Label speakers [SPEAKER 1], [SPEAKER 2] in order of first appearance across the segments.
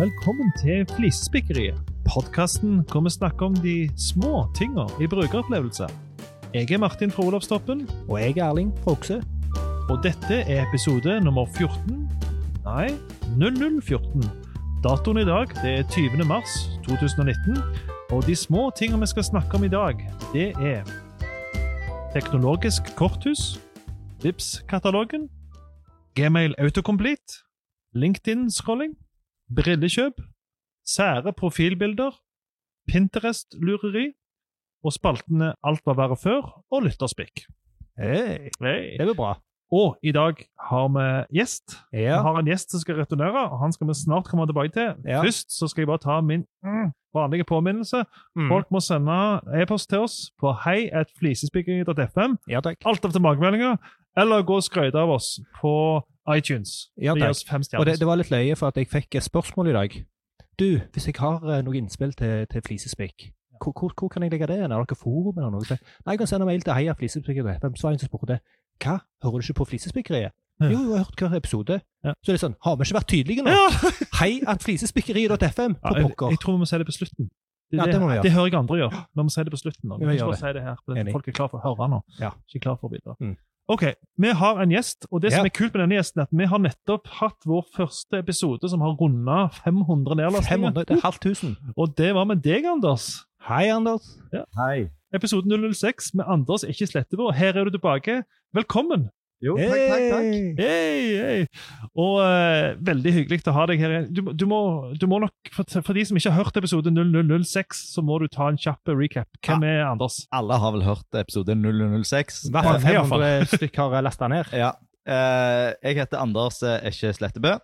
[SPEAKER 1] Velkommen til Flisespikkeriet. Podkasten hvor vi snakker om de små tinga i brukeropplevelser. Jeg er Martin fra Olavstoppen,
[SPEAKER 2] Og jeg er Erling Frokse.
[SPEAKER 1] og dette er episode nummer 14 Nei, 0014. Datoen i dag det er 20. mars 2019, og de små tinga vi skal snakke om i dag, det er Teknologisk korthus, Vipps-katalogen, Gmail Autocomplete, LinkedIn-scrolling, brillekjøp, sære profilbilder, Pinterest-lureri og spaltene Alt var verre før og Lytterspikk.
[SPEAKER 2] Hey.
[SPEAKER 1] Hey.
[SPEAKER 2] Det blir bra.
[SPEAKER 1] Og i dag har vi gjest. Vi
[SPEAKER 2] Ja.
[SPEAKER 1] har en gjest som skal returnere, og han skal vi snart komme tilbake til.
[SPEAKER 2] Ja.
[SPEAKER 1] Først så skal jeg bare ta min mm, vanlige påminnelse.
[SPEAKER 2] Mm.
[SPEAKER 1] Folk må sende e-post til oss på hei at flisespikkeriet.fm.
[SPEAKER 2] Ja takk.
[SPEAKER 1] Alt av tilbakemeldinger, eller gå og skryte av oss på iTunes.
[SPEAKER 2] Ja,
[SPEAKER 1] Gi
[SPEAKER 2] takk.
[SPEAKER 1] oss fem
[SPEAKER 2] Og det,
[SPEAKER 1] stjerner.
[SPEAKER 2] det var litt løye, for at jeg fikk et spørsmål i dag. Du, hvis jeg har eh, noen innspill til, til flisespikk, hvor, hvor, hvor kan jeg legge det? Er dere forum eller noe? Så, Nei, jeg kan sende mail til heia flisespikkeriet. Hvem så var en som spurte hva? Hører du ikke på flisespikkeriet?
[SPEAKER 1] Ja.
[SPEAKER 2] Jo, jo, jeg har hørt hver episode.
[SPEAKER 1] Ja.
[SPEAKER 2] Så det er sånn, har vi ikke vært tydelige nå?
[SPEAKER 1] Ja!
[SPEAKER 2] Hei at flisespikkeriet.fm
[SPEAKER 1] Ja,
[SPEAKER 2] på
[SPEAKER 1] jeg,
[SPEAKER 2] pokker.
[SPEAKER 1] jeg tror vi må si det på slutten. Det,
[SPEAKER 2] Ja, det må vi gjøre.
[SPEAKER 1] det hører jeg andre gjøre. Vi må si det på slutten. nå. Vi
[SPEAKER 2] Vi må
[SPEAKER 1] kan ikke
[SPEAKER 2] gjøre
[SPEAKER 1] bare si det her, for
[SPEAKER 2] Enig.
[SPEAKER 1] Folk er klar for å høre nå.
[SPEAKER 2] Ja.
[SPEAKER 1] Ikke klar for å bidra.
[SPEAKER 2] Mm.
[SPEAKER 1] Ok, Vi har en gjest, og det som
[SPEAKER 2] Ja.
[SPEAKER 1] er kult med denne gjesten, er at vi har nettopp hatt vår første episode som har runda 500 nedlastinger.
[SPEAKER 2] 500, det er halvt tusen.
[SPEAKER 1] Og det var med deg, Anders.
[SPEAKER 2] Hei, Anders.
[SPEAKER 3] Hei.
[SPEAKER 1] Episode 006 med Anders Ikke Slettebo. Her er du tilbake. Velkommen!
[SPEAKER 3] Jo, takk, takk, takk.
[SPEAKER 2] Hey.
[SPEAKER 1] Hei, hei. Og eh, veldig hyggelig å ha deg her igjen. Du, må- du, må, du må nok, for, for de som ikke har hørt episode 0006, så må du ta en kjapp recap. Hvem er Anders?
[SPEAKER 3] Alle har vel hørt episode 006?
[SPEAKER 2] I hvert fall
[SPEAKER 1] Ja, i hvert fall.
[SPEAKER 2] 500 stykk har lasta ned.
[SPEAKER 3] Ja. Eh, jeg heter Anders eh, Esje Slettebø,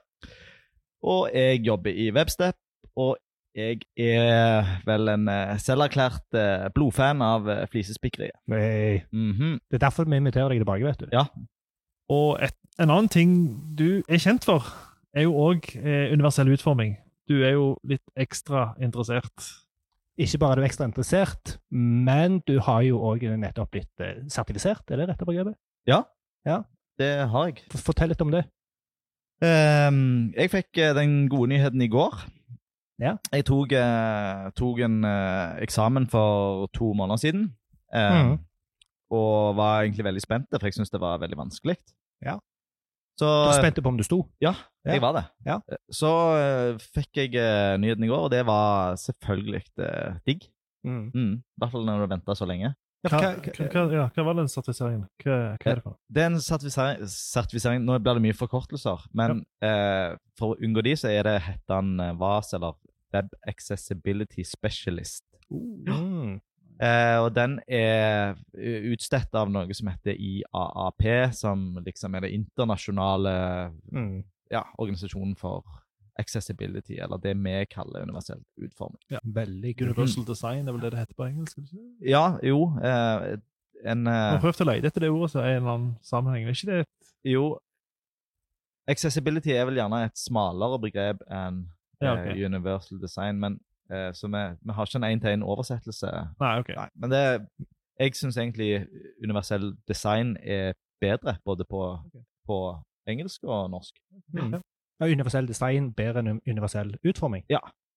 [SPEAKER 3] og jeg jobber i Webstep. Og jeg er vel en eh, selverklært eh, blodfan av eh, flisespikkeriet.
[SPEAKER 2] Nei.
[SPEAKER 3] Mhm.
[SPEAKER 2] Det er derfor vi inviterer deg tilbake, vet du.
[SPEAKER 3] Ja.
[SPEAKER 1] Og et, en annen ting du er kjent for, er jo òg eh, universell utforming. Du er jo litt ekstra interessert.
[SPEAKER 2] Ikke bare er du ekstra interessert, men du har jo òg nettopp blitt eh, sertifisert, er det rette begrepet?
[SPEAKER 3] Det har jeg.
[SPEAKER 2] F- Fortell litt om det.
[SPEAKER 3] Ehm, jeg fikk eh, den gode nyheten i går.
[SPEAKER 2] Ja.
[SPEAKER 3] Jeg tok, eh, tok en eh, eksamen for to måneder siden. ehm,
[SPEAKER 2] Mhm.
[SPEAKER 3] Og var egentlig veldig spent, for jeg syntes det var veldig vanskelig.
[SPEAKER 2] Ja.
[SPEAKER 3] Så
[SPEAKER 2] Du var spent på om du sto.
[SPEAKER 3] Ja,
[SPEAKER 2] Ja.
[SPEAKER 3] jeg var det.
[SPEAKER 2] Ja.
[SPEAKER 3] Så eh, fikk jeg eh, nyheten i går, og det var selvfølgelig eh, digg. Mm, I hvert fall når du venter så lenge.
[SPEAKER 2] Ja,
[SPEAKER 1] Hva,
[SPEAKER 2] for
[SPEAKER 1] hva,
[SPEAKER 2] hva-
[SPEAKER 1] hva, ja, hva var den sertifiseringen? Hva, hva er det for?
[SPEAKER 3] Det er en sertifisering, sertifisering Nå blir det mye forkortelser, men eh, for å unngå de, så er det hette han eh, VAS, eller Web Accessibility Specialist.
[SPEAKER 2] Mm.
[SPEAKER 3] Eh, og den er eh, utstedt av noe som heter IAAP, som liksom er det internasjonale
[SPEAKER 2] Mm.
[SPEAKER 3] ja, organisasjonen for accessibility, eller det vi kaller universell utforming.
[SPEAKER 2] Veldig kult.
[SPEAKER 1] Universal design er vel det det heter på engelsk? er det ikke det?
[SPEAKER 3] Ja, jo eh, En
[SPEAKER 1] Jeg har
[SPEAKER 3] eh,
[SPEAKER 1] prøvd å lete etter det ordet så er det en eller annen sammenheng. Er ikke det
[SPEAKER 3] Jo Accessibility er vel gjerne et smalere begrep enn
[SPEAKER 1] Ja,
[SPEAKER 3] eh,
[SPEAKER 1] ok.
[SPEAKER 3] universal design, men eh, så vi, vi har ikke en én-til-én-oversettelse.
[SPEAKER 1] Nei, ok.
[SPEAKER 3] Nei, Men det Jeg syns egentlig universell design er bedre, både på, på engelsk og norsk.
[SPEAKER 2] Mm. Ja, universell design bedre enn universell utforming.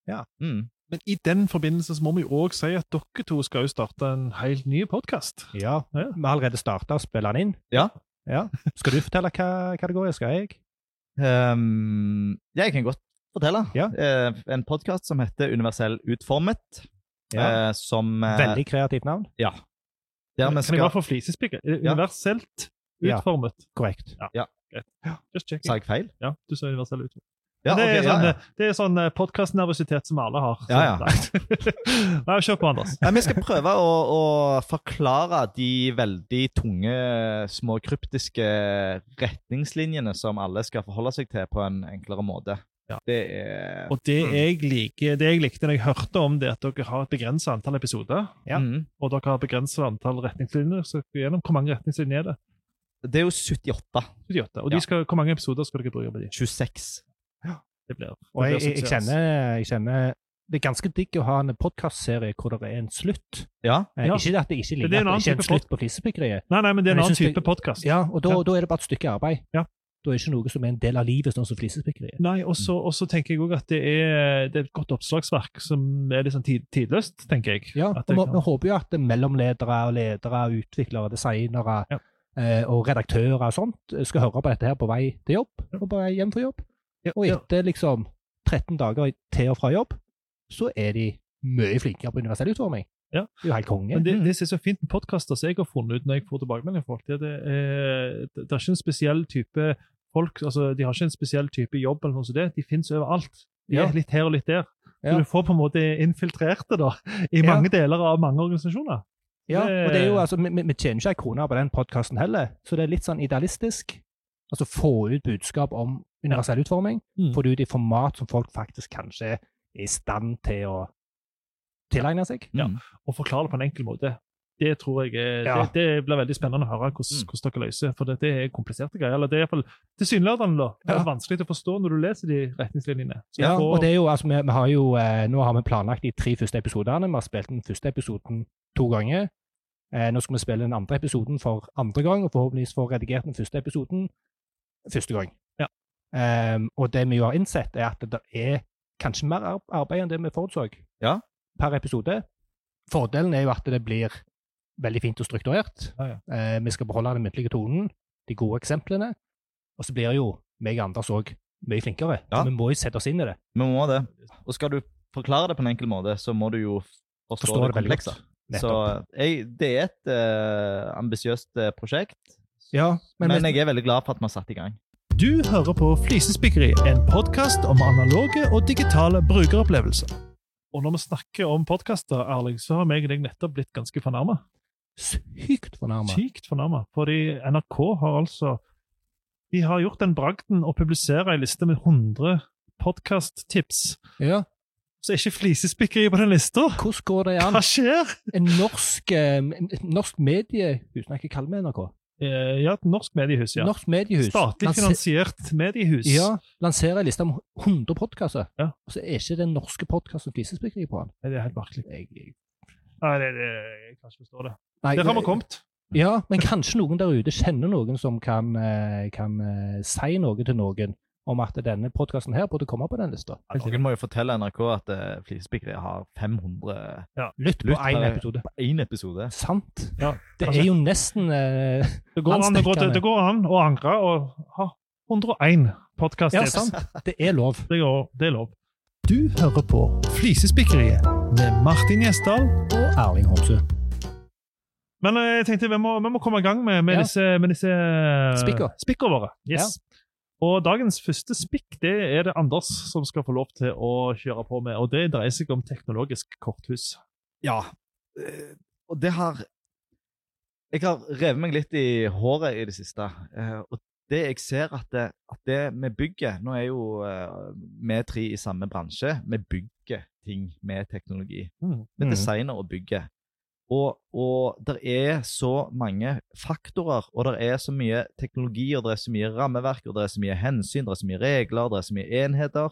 [SPEAKER 3] Mm.
[SPEAKER 1] Men i den forbindelse så må vi jo òg si at dere to skal jo starte en helt ny podkast.
[SPEAKER 2] Ja. Vi
[SPEAKER 1] Ja.
[SPEAKER 2] har allerede starta å spille den inn.
[SPEAKER 3] Ja.
[SPEAKER 2] Ja. Skal du fortelle hva, hva det går i? Skal jeg?
[SPEAKER 3] Ehm, jeg kan godt fortelle.
[SPEAKER 2] Ja.
[SPEAKER 3] Eh, en podkast som heter Universell utformet,
[SPEAKER 2] Ja.
[SPEAKER 3] eh, som eh,
[SPEAKER 2] Veldig kreativt navn.
[SPEAKER 3] Ja. Der vi
[SPEAKER 1] Kan
[SPEAKER 3] skal
[SPEAKER 1] jeg bare få flisespikker? Er det
[SPEAKER 3] Ja.
[SPEAKER 1] Universelt
[SPEAKER 2] Ja.
[SPEAKER 1] utformet.
[SPEAKER 2] Korrekt.
[SPEAKER 1] Just checking.
[SPEAKER 3] Sa jeg feil?
[SPEAKER 1] Ja, du sa universell utformet.
[SPEAKER 3] Ja,
[SPEAKER 1] det, er
[SPEAKER 3] ok, ja,
[SPEAKER 1] sånn,
[SPEAKER 3] ja.
[SPEAKER 1] det er sånn eh, podcastnervøsitet som alle har.
[SPEAKER 3] Ja,
[SPEAKER 1] Så,
[SPEAKER 3] ja.
[SPEAKER 1] nei. Nei, kjør på, Anders.
[SPEAKER 3] Nei, vi skal prøve å, å forklare de veldig tunge, små kryptiske retningslinjene som alle skal forholde seg til på en enklere måte.
[SPEAKER 1] Ja.
[SPEAKER 3] Det er
[SPEAKER 1] Og det jeg, liker, det jeg likte når jeg hørte om det, at dere har et begrenset antall episoder,
[SPEAKER 2] ja.
[SPEAKER 3] Mhm.
[SPEAKER 1] og dere har begrenset antall retningslinjer. Så gjennom hvor mange retningslinjer er det?
[SPEAKER 3] Det er jo 78.
[SPEAKER 1] 78. Og
[SPEAKER 3] Ja.
[SPEAKER 1] de skal, hvor mange episoder skal dere bruke på de?
[SPEAKER 3] 26.
[SPEAKER 1] Det blir, det
[SPEAKER 2] Og
[SPEAKER 1] blir
[SPEAKER 2] jeg, jeg, jeg,
[SPEAKER 1] suksess.
[SPEAKER 2] kjenner, jeg kjenner Det er ganske digg å ha en podkastserie hvor det er en slutt.
[SPEAKER 3] Ja.
[SPEAKER 2] Eh,
[SPEAKER 1] Ja.
[SPEAKER 2] Ikke at det ikke
[SPEAKER 1] er
[SPEAKER 2] ligner
[SPEAKER 1] en annen
[SPEAKER 2] at det ikke er
[SPEAKER 1] type
[SPEAKER 2] en slutt på flisespikkeriet.
[SPEAKER 1] Nei, nei, men det er en
[SPEAKER 2] Men jeg
[SPEAKER 1] annen
[SPEAKER 2] synes
[SPEAKER 1] type
[SPEAKER 2] det-
[SPEAKER 1] podcast.
[SPEAKER 2] Ja, og da,
[SPEAKER 1] Ja.
[SPEAKER 2] da er det bare et stykke arbeid.
[SPEAKER 1] Ja.
[SPEAKER 2] Da er det ikke noe som er en del av livet, sånn som flisespikkeriet.
[SPEAKER 1] Nei, og så og så tenker jeg òg at det er, det er et godt oppslagsverk som er litt sånn tid, tidløst, tenker jeg.
[SPEAKER 2] Ja,
[SPEAKER 1] At
[SPEAKER 2] og
[SPEAKER 1] det
[SPEAKER 2] vi,
[SPEAKER 1] kan-
[SPEAKER 2] vi håper jo at mellomledere og ledere, utviklere, designere
[SPEAKER 1] Ja.
[SPEAKER 2] eh, og redaktører og sånt eh, skal høre på dette her på vei til jobb og på vei hjem fra jobb.
[SPEAKER 1] Ja,
[SPEAKER 2] Og
[SPEAKER 1] ja.
[SPEAKER 2] etter liksom 13 dager til og fra jobb, så er de mye flinkere på universell utforming.
[SPEAKER 1] Ja.
[SPEAKER 2] Det er jo helt konge.
[SPEAKER 1] Men det, det som er så fint med podkaster som jeg har funnet ut når jeg får tilbakemelding fra folk, det er, det, er, det er ikke en spesiell type folk altså De har ikke en spesiell type jobb, eller noe sånt. som det. de finnes overalt. De
[SPEAKER 2] Ja.
[SPEAKER 1] er litt her og litt der. Så
[SPEAKER 2] Ja.
[SPEAKER 1] du får på en måte infiltrert det da, i
[SPEAKER 2] Ja.
[SPEAKER 1] mange deler av mange organisasjoner.
[SPEAKER 2] ja,
[SPEAKER 1] det-
[SPEAKER 2] og det er jo, altså, vi, vi- vi tjener ikke ei krone på den podkasten heller, så det er litt sånn idealistisk. Altså få ut budskap om universell utforming.
[SPEAKER 1] Mm.
[SPEAKER 2] Få det ut i format som folk faktisk kanskje er i stand til å tilegne seg.
[SPEAKER 3] Mm.
[SPEAKER 1] Ja. Og forklare det på en enkel måte. Det tror jeg er,
[SPEAKER 2] Ja.
[SPEAKER 1] det, det blir veldig spennende å høre hvordan,
[SPEAKER 3] Mm.
[SPEAKER 1] hvordan dere løser for det. Det er kompliserte greier. eller Det er iallfall tilsynelatende da. Det er
[SPEAKER 2] Ja.
[SPEAKER 1] vanskelig til å forstå når du leser de retningslinjene. Så
[SPEAKER 2] Ja,
[SPEAKER 1] du får-
[SPEAKER 2] og det er jo, altså, vi, vi har jo, eh, Nå har vi planlagt de tre første episodene. Vi har spilt den første episoden to ganger. Eh, nå skal vi spille den andre episoden for andre gang, og forhåpentligvis få redigert den første episoden første gang.
[SPEAKER 1] Ja.
[SPEAKER 2] Ehm, og det vi jo har innsett, er at det er kanskje mer ar- arbeid enn det vi forutså
[SPEAKER 3] Ja.
[SPEAKER 2] per episode. Fordelen er jo at det blir veldig fint og strukturert.
[SPEAKER 1] Ja, ja.
[SPEAKER 2] Eh, vi skal beholde den muntlige tonen, de gode eksemplene. Og så blir jo meg og Anders òg mye flinkere.
[SPEAKER 3] Ja.
[SPEAKER 2] Vi må jo sette oss inn i det.
[SPEAKER 3] Vi må det. Og skal du forklare det på en enkel måte, så må du jo forstå,
[SPEAKER 2] Forstår
[SPEAKER 3] det
[SPEAKER 2] det veldig
[SPEAKER 3] komplekse.
[SPEAKER 2] godt.
[SPEAKER 3] Så
[SPEAKER 2] Nettopp.
[SPEAKER 3] jeg, det er et uh, ambisiøst eh, prosjekt,
[SPEAKER 2] ja,
[SPEAKER 3] men,
[SPEAKER 2] men, men
[SPEAKER 3] jeg er veldig glad for at vi har satt i gang.
[SPEAKER 1] Du hører på Flisespikkeri, en podkast om analoge og digitale brukeropplevelser. Og når vi snakker om podkaster, Erling, så har meg og deg nettopp blitt ganske fornærma.
[SPEAKER 2] sykt fornærma.
[SPEAKER 1] Sykt fornærma. Fordi NRK har altså De har gjort den bragden å publisere ei liste med 100 podkasttips.
[SPEAKER 2] Ja.
[SPEAKER 1] Så er ikke flisespikkeri på den lista!
[SPEAKER 2] Hvordan går det an?
[SPEAKER 1] Hva skjer?
[SPEAKER 2] En norsk, eh, en- et norsk mediehus Nei, hva kaller vi NRK?
[SPEAKER 1] Eh, Ja, et norsk mediehus, ja.
[SPEAKER 2] Norsk mediehus.
[SPEAKER 1] Statlig
[SPEAKER 2] lanser-
[SPEAKER 1] finansiert mediehus.
[SPEAKER 2] Ja, lanserer en liste om 100 podkaster,
[SPEAKER 1] Ja.
[SPEAKER 2] og så er ikke den norske podkasten flisespikkeri på den.
[SPEAKER 1] Nei, Det er helt merkelig.
[SPEAKER 2] Jeg- jeg-
[SPEAKER 1] Nei, det, det, jeg kan ikke forstå det.
[SPEAKER 2] Nei, eh,
[SPEAKER 1] Der har vi kommet.
[SPEAKER 2] Ja, men kanskje noen der ute kjenner noen som kan, eh, kan eh, si noe til noen om at denne podkasten her burde komme på den lista.
[SPEAKER 3] Ja, Noen må jo fortelle NRK at uh, Flisespikkere har 500
[SPEAKER 2] Lytt på
[SPEAKER 3] Lytt på
[SPEAKER 2] én
[SPEAKER 3] det.
[SPEAKER 2] episode.
[SPEAKER 3] på én episode.
[SPEAKER 2] Sant.
[SPEAKER 1] Ja,
[SPEAKER 2] Det
[SPEAKER 1] altså-
[SPEAKER 2] er jo nesten eh,
[SPEAKER 1] Det går, an, det, går,
[SPEAKER 2] Anstekkende.
[SPEAKER 1] det går an å angre og ha 101
[SPEAKER 2] Ja,
[SPEAKER 1] podkast-tips.
[SPEAKER 2] sant. Det er lov.
[SPEAKER 1] det, går- det er lov. Du hører på Flisespikkeriet med Martin Gjesdal.
[SPEAKER 2] Og Erling Homsø.
[SPEAKER 1] Men eh, jeg tenkte vi må, vi må komme i gang med, med
[SPEAKER 2] Ja.
[SPEAKER 1] disse, med disse eh,
[SPEAKER 2] Spikker.
[SPEAKER 1] spikker våre. Yes. Og dagens første spikk det er det Anders som skal få lov til å kjøre på med. Og det dreier seg om teknologisk korthus.
[SPEAKER 3] Ja. eh, og det har Jeg har revet meg litt i håret i det siste. eh, og det jeg ser at det, at det vi bygger Nå er jo eh, vi tre i samme bransje. Vi bygger ting med teknologi.
[SPEAKER 1] Mm.
[SPEAKER 3] Vi
[SPEAKER 2] Mhm.
[SPEAKER 3] designer og bygger. Og, og det er så mange faktorer, og det er så mye teknologi, og det er så mye rammeverk, og det er så mye hensyn, det er så mye regler, det er så mye enheter.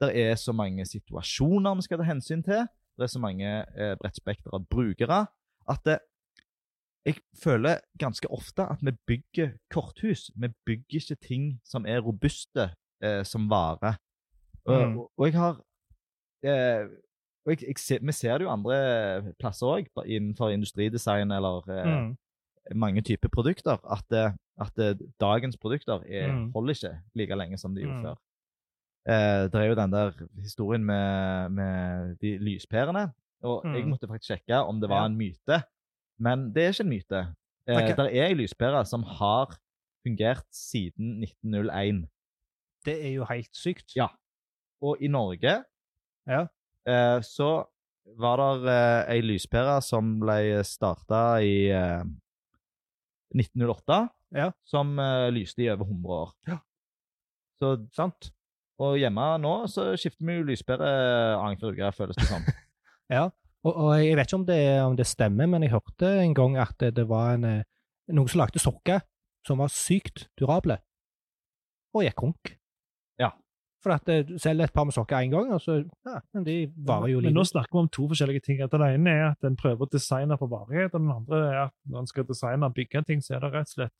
[SPEAKER 3] Det er så mange situasjoner vi skal ta hensyn til. Det er så mange eh, bredt spekter av brukere at det, jeg føler ganske ofte at vi bygger korthus. Vi bygger ikke ting som er robuste eh, som vare. Og-
[SPEAKER 1] Mm.
[SPEAKER 3] Og, og jeg har eh, og jeg, jeg ser, Vi ser det jo andre plasser òg, innenfor industridesign eller eh,
[SPEAKER 1] Mm.
[SPEAKER 3] mange typer produkter, at, eh, at eh, dagens produkter er,
[SPEAKER 1] Mm.
[SPEAKER 3] holder ikke like lenge som de gjorde
[SPEAKER 1] Mm.
[SPEAKER 3] før. Eh, det er jo den der historien med, med de lyspærene. Og jeg
[SPEAKER 1] Mm.
[SPEAKER 3] måtte faktisk sjekke om det var
[SPEAKER 1] Ja.
[SPEAKER 3] en myte, men det er ikke en myte. Eh,
[SPEAKER 1] Ok.
[SPEAKER 3] Der er ei lyspære som har fungert siden 1901.
[SPEAKER 2] Det er jo helt sykt.
[SPEAKER 3] Ja. Og i Norge
[SPEAKER 2] Ja.
[SPEAKER 3] eh, så var det eh, ei lyspære som ble starta i eh, 1908,
[SPEAKER 2] Ja.
[SPEAKER 3] som eh, lyste i over 100 år. Så,
[SPEAKER 2] Sant?
[SPEAKER 3] og hjemme nå så skifter vi jo lyspære annenhver uke, føles det som.
[SPEAKER 2] Og, og jeg vet ikke om det, om det stemmer, men jeg hørte en gang at det, det var en, eh, noen som lagde sokker som var sykt durable, og gikk konk.
[SPEAKER 3] Ja.
[SPEAKER 2] For at eh, du selger et par med sokker én gang, og så ja, men de varer jo
[SPEAKER 1] Men nå
[SPEAKER 2] livet.
[SPEAKER 1] snakker vi om to forskjellige ting. At Den ene er at en prøver å designe på varighet, og den andre er at når en skal designe og bygge ting, så er det rett og slett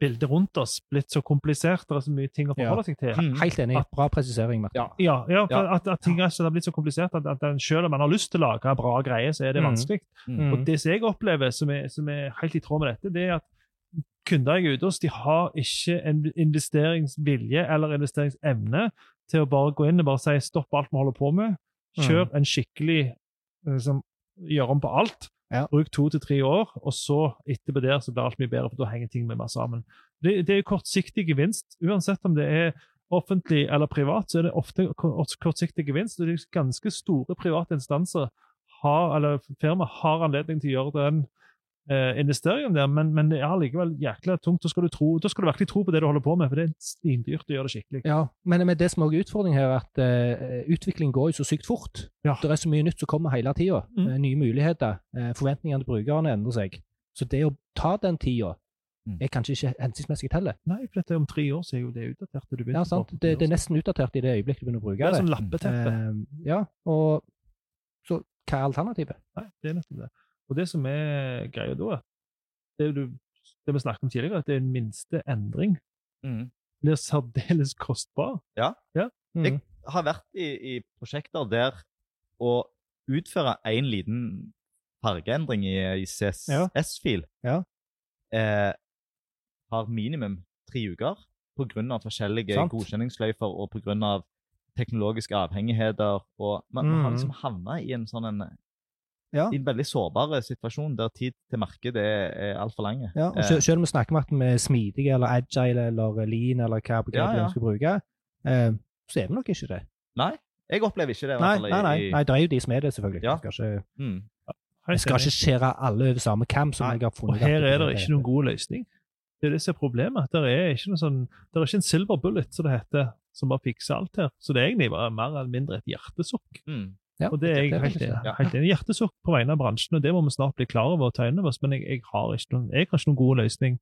[SPEAKER 1] bildet rundt oss blitt så komplisert, det er så mye ting å forholde seg til.
[SPEAKER 3] Mm.
[SPEAKER 2] Helt enig.
[SPEAKER 1] Ja.
[SPEAKER 2] Bra presisering, Marte.
[SPEAKER 3] Ja.
[SPEAKER 1] Ja, ja, for
[SPEAKER 3] Ja.
[SPEAKER 1] At, at ting er, så det har blitt så komplisert at, at en, selv om man har lyst til å lage bra greier, så er det
[SPEAKER 2] Mm.
[SPEAKER 1] vanskelig.
[SPEAKER 3] Mm.
[SPEAKER 1] Og det som jeg opplever som er, som er helt i tråd med dette, det er at kunder jeg er ute hos, de har ikke en investeringsvilje eller investeringsevne til å bare gå inn og bare si stopp alt vi holder på med, kjør en skikkelig liksom, gjør om på alt,
[SPEAKER 2] Ja.
[SPEAKER 1] bruk to til tre år, og så etterpå der så blir alt mye bedre, for da henger ting mye mer sammen. Det, det er jo kortsiktig gevinst, uansett om det er offentlig eller privat, så er det ofte kort- kortsiktig gevinst. Og det er ganske store private instanser har, eller firma har anledning til å gjøre den eh, investeringen der, men, men det er allikevel jækla tungt. Da skal, du tro, da skal du virkelig tro på det du holder på med, for det er svindyrt å gjøre det skikkelig.
[SPEAKER 2] Ja, men men det som også er utfordringen her, er at eh, utvikling går jo så sykt fort.
[SPEAKER 1] Ja.
[SPEAKER 2] Det er så mye nytt som kommer hele tida.
[SPEAKER 1] Mm.
[SPEAKER 2] Eh, nye muligheter. Eh, forventningene til brukerne endrer seg. Så det å ta den tida
[SPEAKER 3] Mm.
[SPEAKER 2] er kanskje ikke hensiktsmessig heller.
[SPEAKER 1] Nei, for dette er om tre år så er jo det utdatert. og Du begynte
[SPEAKER 2] Ja,
[SPEAKER 1] på
[SPEAKER 2] sant?
[SPEAKER 1] for tre år
[SPEAKER 2] Det, det er
[SPEAKER 1] siden.
[SPEAKER 2] nesten utdatert i det øyeblikket du begynner å
[SPEAKER 1] det
[SPEAKER 2] bruke
[SPEAKER 1] er
[SPEAKER 3] sånn
[SPEAKER 2] det. sånn
[SPEAKER 1] som lappeteppe.
[SPEAKER 2] Eh, ja, og så hva er alternativet?
[SPEAKER 1] Nei, det er nettopp det. Og det som er greia da, er at det, er jo du, det vi snakket om tidligere, at det er en minste endring
[SPEAKER 3] Mm.
[SPEAKER 1] blir særdeles kostbar.
[SPEAKER 2] Mm.
[SPEAKER 3] har vært i, i prosjekter der å utføre en liten fargeendring i, i
[SPEAKER 2] Ja.
[SPEAKER 3] CSS-fil
[SPEAKER 2] Ja.
[SPEAKER 3] eh, har minimum tre uker pga. forskjellige
[SPEAKER 2] Sant.
[SPEAKER 3] godkjenningssløyfer og pga. teknologiske avhengigheter. Og man, man har
[SPEAKER 2] Mhm.
[SPEAKER 3] liksom havna i en sånn en,
[SPEAKER 2] Ja.
[SPEAKER 3] i en veldig sårbar situasjon der tid til markedet er, er altfor lang.
[SPEAKER 2] Ja, og selv, selv om vi snakker om at vi er smidige eller agile eller lean eller hva begrepet
[SPEAKER 3] Ja, ja.
[SPEAKER 2] vi skal bruke, eh, så er vi nok ikke det.
[SPEAKER 3] Jeg opplever ikke det. i
[SPEAKER 2] Nei,
[SPEAKER 3] hvert fall i-
[SPEAKER 2] nei, nei,
[SPEAKER 3] i-
[SPEAKER 2] nei, det er jo de som er det, selvfølgelig.
[SPEAKER 3] Ja.
[SPEAKER 2] Jeg skal ikke,
[SPEAKER 3] Mm.
[SPEAKER 1] Helt
[SPEAKER 2] jeg skal
[SPEAKER 1] enig.
[SPEAKER 2] ikke skjære alle over samme kam. som
[SPEAKER 1] Nei,
[SPEAKER 2] jeg har funnet.
[SPEAKER 1] Og her er det ikke noen god løsning. Det er det som er problemet. Det er ikke, noe sånn, der er ikke en silver bullet, som det heter, som bare fikser alt her. Så det er egentlig bare mer eller mindre et hjertesukk.
[SPEAKER 3] Mm.
[SPEAKER 2] Ja,
[SPEAKER 1] Og det er jeg helt
[SPEAKER 2] faktisk det.
[SPEAKER 1] enig- helt enig i. Hjertesukk på vegne av bransjen, og det må vi snart bli klar over og ta inn over oss, men jeg, jeg, har ikke noen, jeg har ikke noen god løsning.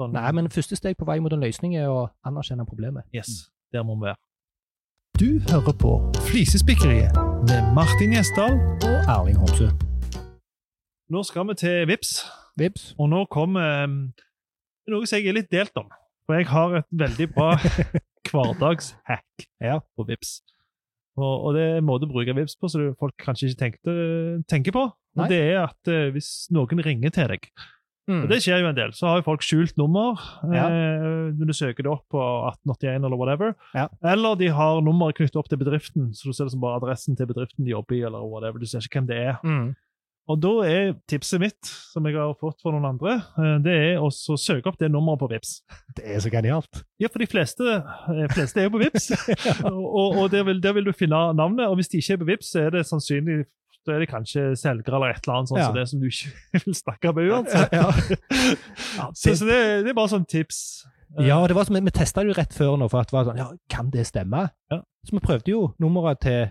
[SPEAKER 1] Sånn,
[SPEAKER 2] Nei, men første steg på vei mot en løsning er å anerkjenne problemet.
[SPEAKER 1] Yes, der må vi være. Du hører på Flisespikkeriet med Martin Gjesdal.
[SPEAKER 2] Og Erling Homsø.
[SPEAKER 1] Nå skal vi til VIPS,
[SPEAKER 2] Vips.
[SPEAKER 1] og nå kommer um, noe som jeg er litt delt om. For jeg har et veldig bra hverdagshack
[SPEAKER 2] Ja.
[SPEAKER 1] på VIPS. Og, og det er en måte å bruke VIPS på som folk kanskje ikke tenkte, tenker på. Og
[SPEAKER 2] Nei.
[SPEAKER 1] det er at eh, hvis noen ringer til deg Og det skjer jo en del. Så har jo folk skjult nummer
[SPEAKER 2] Mm. Ja.
[SPEAKER 1] eh, når du søker det opp på 1881 eller whatever.
[SPEAKER 2] Ja.
[SPEAKER 1] Eller de har nummeret knyttet opp til bedriften, så du ser det som bare adressen til bedriften de jobber i. eller whatever. Du ser ikke hvem det er.
[SPEAKER 2] Mm.
[SPEAKER 1] Og da er tipset mitt, som jeg har fått fra noen andre, eh, det er å så søke opp det nummeret på Vips.
[SPEAKER 2] Det er så genialt.
[SPEAKER 1] Ja, for de fleste, eh, fleste er jo på Vips, og, og der, vil, der vil du finne navnet. Og hvis de ikke er på Vips, så er det sannsynlig da er det kanskje selgere eller et eller annet sånt
[SPEAKER 2] Ja.
[SPEAKER 1] som det som du ikke vil snakke med uansett.
[SPEAKER 2] Ja.
[SPEAKER 1] Så, så det, det er bare sånn tips.
[SPEAKER 2] Ja, det var som, vi testa det jo rett før nå, for at det var sånn, ja, kan det stemme?
[SPEAKER 1] Ja.
[SPEAKER 2] Så vi prøvde jo nummeret til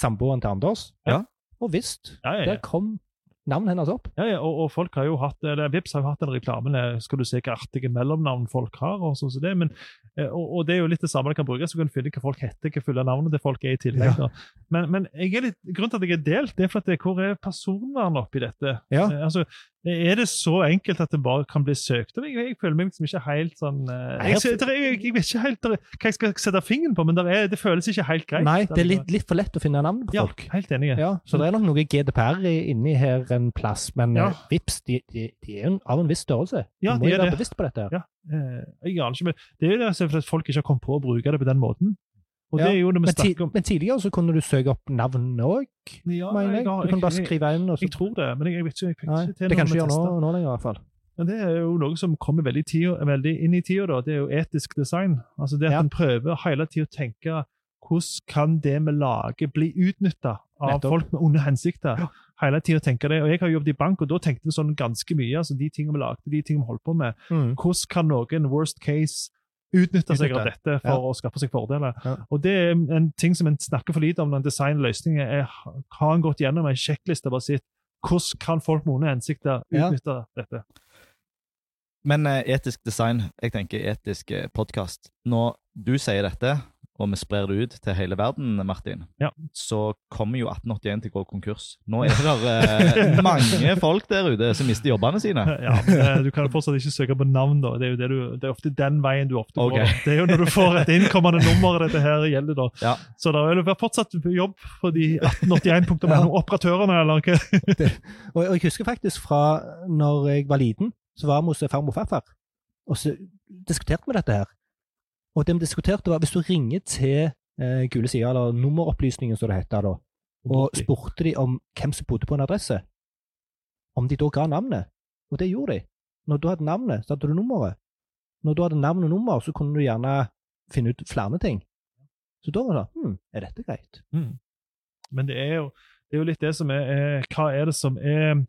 [SPEAKER 2] samboeren til Anders,
[SPEAKER 1] Ja.
[SPEAKER 2] og visst,
[SPEAKER 1] Ja, ja, ja.
[SPEAKER 2] der kom navnet hennes opp.
[SPEAKER 1] ja, ja. Og, og folk har jo hatt, eller Vips har jo hatt en reklame der skal du se hva artige mellomnavn folk har. Og sånn som det, men, eh, og, og det er jo litt det samme du kan bruke, så kan du finne hva folk heter, hva fulle navnet til folk er i tillegg. da. Men, men jeg er litt, grunnen til at jeg er delt, det er for at det, hvor er personvernet oppi dette?
[SPEAKER 2] Ja.
[SPEAKER 1] Eh, Altså, er det så enkelt at det bare kan bli søkt? om? Jeg, jeg føler meg liksom ikke helt sånn eh, Jeg, jeg, jeg, jeg vet ikke helt der, hva jeg skal sette fingeren på, men der er, det føles ikke helt greit.
[SPEAKER 2] Nei, det er litt, litt for lett å finne navnet på
[SPEAKER 1] ja,
[SPEAKER 2] folk.
[SPEAKER 1] helt enig.
[SPEAKER 2] Ja, så det er nok noe GDPR i- inni her en plass, men
[SPEAKER 1] Ja.
[SPEAKER 2] eh, vips, de, de, de er jo en- av en viss størrelse.
[SPEAKER 1] Ja,
[SPEAKER 2] du må
[SPEAKER 1] de
[SPEAKER 2] jo
[SPEAKER 1] er
[SPEAKER 2] være
[SPEAKER 1] det.
[SPEAKER 2] bevisst på dette. her.
[SPEAKER 1] Ja. Eh, Jeg aner ikke, men det er jo det for at folk ikke har kommet på å bruke det på den måten. Og
[SPEAKER 2] Ja,
[SPEAKER 1] det er jo når vi
[SPEAKER 2] Men, ti,
[SPEAKER 1] snakker om
[SPEAKER 2] men tidligere så kunne du søke opp navn òg,
[SPEAKER 1] ja,
[SPEAKER 2] mener jeg.
[SPEAKER 1] har-
[SPEAKER 2] Du kunne bare
[SPEAKER 1] jeg,
[SPEAKER 2] skrive inn. Og så,
[SPEAKER 1] jeg tror det, men jeg, jeg vet ikke. Jeg fikk
[SPEAKER 2] Nei,
[SPEAKER 1] ikke til
[SPEAKER 2] det kan
[SPEAKER 1] når vi
[SPEAKER 2] ikke gjøre
[SPEAKER 1] testet.
[SPEAKER 2] nå, nå lenger, i hvert fall.
[SPEAKER 1] Men det er jo noe som kommer veldig, i tida, veldig inn i tida, da. Det er jo etisk design. Altså det at
[SPEAKER 2] Ja.
[SPEAKER 1] en prøver hele tida å tenke hvordan kan det vi lager, bli utnytta av
[SPEAKER 2] Nettopp.
[SPEAKER 1] folk med onde hensikter?
[SPEAKER 2] Ja.
[SPEAKER 1] Hele tida tenker det. Og jeg har jobbet i bank, og da tenkte vi sånn ganske mye. altså De tingene vi lagde, de tingene vi holdt på med.
[SPEAKER 2] Mm.
[SPEAKER 1] hvordan kan noen worst case utnytte seg av
[SPEAKER 2] Utnytte,
[SPEAKER 1] dette for å skaffe seg fordeler?
[SPEAKER 2] Ja.
[SPEAKER 1] Og Det er en ting som en snakker for lite om når en designer løsninger. er, Har en gått gjennom en sjekkliste og bare sett hvordan kan folk med onde hensikter
[SPEAKER 2] Ja.
[SPEAKER 1] utnytte dette?
[SPEAKER 3] Men eh, etisk design, jeg tenker etisk eh, podcast. Når du sier dette, og vi sprer det ut til hele verden, Martin,
[SPEAKER 1] Ja.
[SPEAKER 3] så kommer jo 1881 til å gå konkurs. Nå er det eh, mange folk der ute som mister jobbene sine.
[SPEAKER 1] Ja, men eh, Du kan fortsatt ikke søke på navn, da. Det er jo det du, det er ofte den veien du ofte går.
[SPEAKER 3] Ok.
[SPEAKER 1] Det er jo når du får et innkommende nummer dette her gjelder, da.
[SPEAKER 3] Ja.
[SPEAKER 1] Så det vil være fortsatt jobb for de 1881.no-operatørene, eller hva?
[SPEAKER 2] Og, og jeg husker faktisk fra når jeg var liten, så var vi hos farmor og farfar, og så diskuterte vi dette her. Og det vi diskuterte, var hvis du ringer til eh, Gule sider, eller nummeropplysningen som det heter da, og spurte de om hvem som bodde på en adresse, om de da ga navnet. Og det gjorde de. Når du hadde navnet, så hadde du nummeret. Når du hadde navn og nummer, så kunne du gjerne finne ut flere ting. Så da var det sånn Hm, er dette greit?
[SPEAKER 1] Mm. Men det er jo, det er jo litt det som er, er Hva er det som er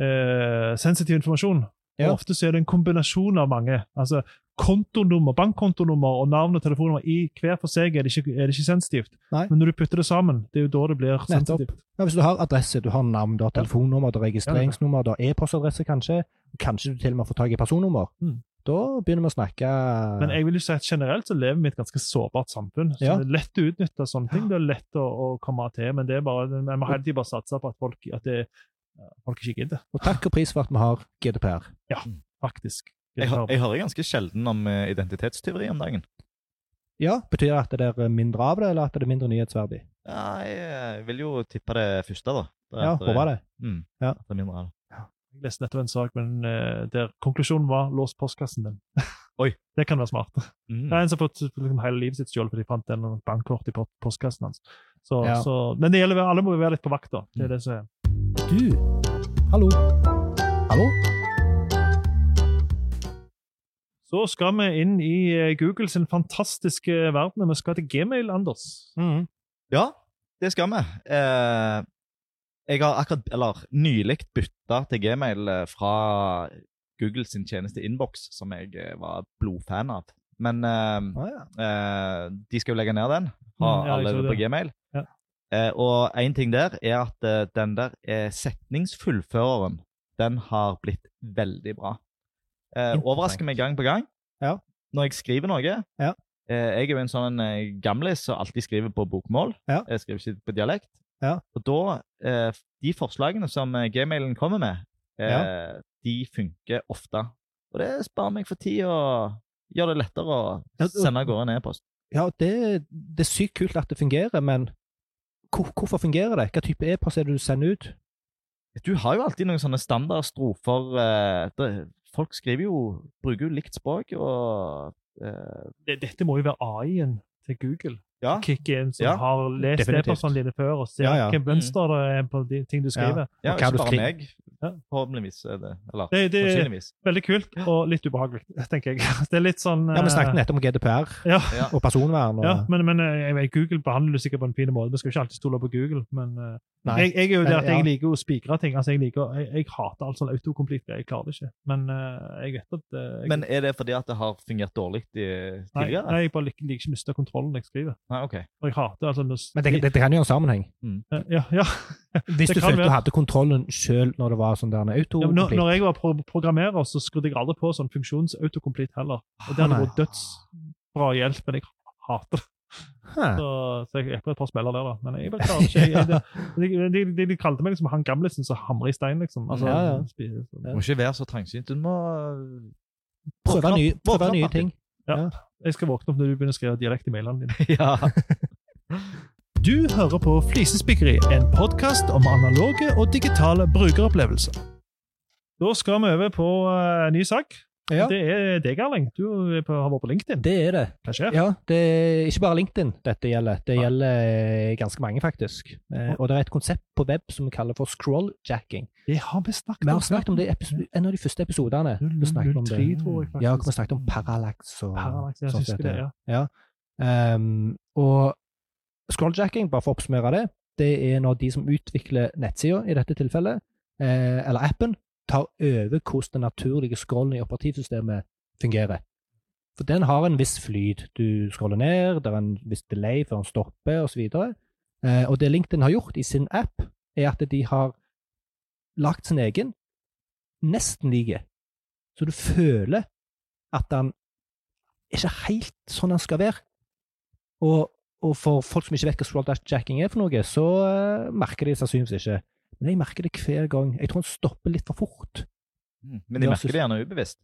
[SPEAKER 1] eh, sensitiv informasjon?
[SPEAKER 2] Ja.
[SPEAKER 1] Og ofte så er det en kombinasjon av mange. Altså kontonummer, bankkontonummer og navn og telefonnummer i hver for seg er det ikke, er det ikke sensitivt.
[SPEAKER 2] Nei.
[SPEAKER 1] Men når du putter det sammen, det er jo da det blir sensitivt.
[SPEAKER 2] Ja, hvis du har adresse, du har navn, du har telefonnummer, du har registreringsnummer, du har e-postadresse kanskje, og kanskje du til og med får tak i personnummer,
[SPEAKER 1] Mm.
[SPEAKER 2] da begynner vi å snakke
[SPEAKER 1] Men jeg vil jo si at generelt så lever vi i et ganske sårbart samfunn. Så
[SPEAKER 2] Ja.
[SPEAKER 1] Det er lett å utnytte sånne ting. Det er lett å, å komme til, men det er bare, jeg må hele tiden bare satse på at folk, at det, folk ikke gidder,
[SPEAKER 2] Og takk og pris for at vi har GDPR.
[SPEAKER 1] faktisk.
[SPEAKER 3] Jeg, hø- jeg hører ganske sjelden om eh, identitetstyveri om dagen.
[SPEAKER 2] Ja, Betyr det at det er mindre av det, eller at det er mindre nyhetsverdig?
[SPEAKER 3] Ja, jeg eh, vil jo tippe det første, da.
[SPEAKER 2] Ja, håper det.
[SPEAKER 3] Mm,
[SPEAKER 2] Ja.
[SPEAKER 3] det er mindre av det.
[SPEAKER 1] Jeg leste nettopp en sak men, eh, der konklusjonen var 'lås postkassen din'.
[SPEAKER 3] Oi.
[SPEAKER 1] Det kan være smart.
[SPEAKER 3] Mm.
[SPEAKER 1] Det er en som har fått liksom, hele livet sitt stjålet fordi de fant en bankkort i po- postkassen hans. Så,
[SPEAKER 2] Ja.
[SPEAKER 1] så, men det gjelder, alle må jo være litt på vakt, da. Det er det som er.
[SPEAKER 2] Du! Hallo! Hallo?
[SPEAKER 1] Så skal vi inn i eh, Google sin fantastiske verden, og vi skal til Gmail, Anders.
[SPEAKER 3] Mm. Ja, det skal vi. Eh, jeg har akkurat, eller nylig bytta til Gmail eh, fra Google sin tjeneste Inbox, som jeg eh, var blodfan av. Men eh,
[SPEAKER 2] Ah, ja.
[SPEAKER 3] eh, de skal jo legge ned den,
[SPEAKER 1] Mm,
[SPEAKER 3] har
[SPEAKER 1] ja, jeg
[SPEAKER 3] alle
[SPEAKER 1] så
[SPEAKER 3] på
[SPEAKER 1] det.
[SPEAKER 3] Gmail.
[SPEAKER 1] Ja.
[SPEAKER 3] Eh, og én ting der er at eh, den der eh, setningsfullføreren, den har blitt veldig bra. Eh, overrasker meg gang på gang.
[SPEAKER 2] Ja.
[SPEAKER 3] Når jeg skriver noe
[SPEAKER 2] Ja.
[SPEAKER 3] eh, Jeg er jo en sånn eh, gamlis som alltid skriver på bokmål.
[SPEAKER 2] Ja.
[SPEAKER 3] Jeg skriver ikke på dialekt.
[SPEAKER 2] Ja.
[SPEAKER 3] Og da eh, De forslagene som eh, gmailen kommer med, eh, de funker ofte. Og det sparer meg for tid og gjør det lettere å
[SPEAKER 2] Ja, og-
[SPEAKER 3] sende av gårde en e-post.
[SPEAKER 2] Ja, det, det er sykt kult at det fungerer, men hvor, hvorfor fungerer det? Hva type e-post er det du sender ut?
[SPEAKER 3] Du har jo alltid noen sånne standardstrofer. eh, det- Folk skriver jo Bruker jo likt språk og eh,
[SPEAKER 1] det, dette må jo være AI-en til Google.
[SPEAKER 3] Ja.
[SPEAKER 1] Kick-in som
[SPEAKER 3] Ja.
[SPEAKER 1] har lest
[SPEAKER 2] Definitivt.
[SPEAKER 1] e-postene dine før og ser
[SPEAKER 2] Ja, ja.
[SPEAKER 1] hvilke mønster det er på de ting du skriver.
[SPEAKER 3] Mm. Ja,
[SPEAKER 2] Og hva
[SPEAKER 3] ikke
[SPEAKER 2] du
[SPEAKER 3] bare
[SPEAKER 2] skriver.
[SPEAKER 3] meg.
[SPEAKER 1] Ja.
[SPEAKER 3] Forhåpentligvis er det Eller
[SPEAKER 1] Det, det er
[SPEAKER 3] sannsynligvis.
[SPEAKER 1] veldig kult og litt ubehagelig, tenker jeg. Det er litt sånn
[SPEAKER 2] Ja, Vi snakket
[SPEAKER 1] eh,
[SPEAKER 2] nettopp om GDPR
[SPEAKER 1] Ja,
[SPEAKER 3] Ja.
[SPEAKER 2] og personvern. Og,
[SPEAKER 1] ja men, men eh, jeg vet, Google behandler du sikkert på en fin måte. Vi skal jo ikke alltid stole på Google, men eh,
[SPEAKER 2] Nei.
[SPEAKER 1] jeg, jeg er jo der at
[SPEAKER 2] Men, ja.
[SPEAKER 1] jeg liker å spikre ting. altså Jeg liker, jeg, jeg hater alt sånn autocomplete. Jeg klarer det ikke. Men eh, jeg vet at eh, jeg,
[SPEAKER 3] Men er det fordi at det har fungert dårlig i-
[SPEAKER 1] nei,
[SPEAKER 3] tidligere?
[SPEAKER 1] nei, jeg bare liker, liker ikke å miste kontrollen når jeg skriver.
[SPEAKER 3] Nei, ok.
[SPEAKER 1] Og jeg hater altså når-
[SPEAKER 2] men det, det, det kan jo ha en sammenheng.
[SPEAKER 1] Ja, ja.
[SPEAKER 2] Hvis
[SPEAKER 1] Det
[SPEAKER 2] du
[SPEAKER 1] kan
[SPEAKER 2] følte du
[SPEAKER 1] være.
[SPEAKER 2] hadde kontrollen sjøl når det var sånn der en auto
[SPEAKER 1] Ja, men når, når jeg var pro programmerer, så skrudde jeg aldri på sånn funksjonsautokomplett heller. Og Det hadde
[SPEAKER 2] Ah, nei.
[SPEAKER 1] vært dødsbra hjelp, men jeg hater det. Så, så jeg er på et par smeller der, da. Men jeg bare klarer ikke. Jeg, det, de, de, de, de kalte meg liksom han gamlesen som hamrer i stein, liksom. Altså, sånn.
[SPEAKER 2] Ja, ja.
[SPEAKER 1] spi- så-
[SPEAKER 3] Du må ikke være så trangsynt. Du må
[SPEAKER 2] Prøve nye,
[SPEAKER 3] Våkne
[SPEAKER 2] prøve
[SPEAKER 3] opp,
[SPEAKER 2] nye
[SPEAKER 3] Martin.
[SPEAKER 2] ting.
[SPEAKER 1] Jeg skal våkne opp når du begynner å skrive dialekt i mailene dine.
[SPEAKER 3] Ja.
[SPEAKER 1] Du hører på Flisespikkeri, en podkast om analoge og digitale brukeropplevelser. Da skal vi over på eh, ny sak.
[SPEAKER 2] Ja.
[SPEAKER 1] Det er deg, Erling. Du er på, har vært på LinkedIn.
[SPEAKER 2] Det er det.
[SPEAKER 1] Hva skjer?
[SPEAKER 2] Ja, det er ikke bare LinkedIn dette gjelder. Det
[SPEAKER 1] Nei.
[SPEAKER 2] gjelder eh, ganske mange, faktisk. Eh, Og det er et konsept på web som vi kaller for scrolljacking.
[SPEAKER 1] Det har vi snakket
[SPEAKER 2] Vi har snakket om det i episo- en av de første episodene. Vi snakket om det.
[SPEAKER 1] 003, tror jeg faktisk.
[SPEAKER 2] Ja, vi snakket om parallax og
[SPEAKER 1] Parallax, jeg
[SPEAKER 2] sånt
[SPEAKER 1] husker
[SPEAKER 2] heter
[SPEAKER 1] det, ja.
[SPEAKER 2] Um, og scrolljacking, bare for å oppsummere det, det er når de som utvikler nettsida, i dette tilfellet, eh, eller appen, tar over hvordan den naturlige scrollen i operativsystemet fungerer. For den har en viss flyt. Du scroller ned, det er en viss delay før den stopper, osv. Eh, og det LinkedIn har gjort i sin app, er at de har lagt sin egen nesten like. Så du føler at den er ikke helt sånn den skal være. Og, og for folk som ikke vet hva scroll-jacking er for noe, så eh, merker de det sannsynligvis ikke. Men jeg merker det hver gang. Jeg tror han stopper litt for fort.
[SPEAKER 3] Mm, Men de
[SPEAKER 2] Ja,
[SPEAKER 3] merker
[SPEAKER 2] synes-
[SPEAKER 3] det gjerne ubevisst.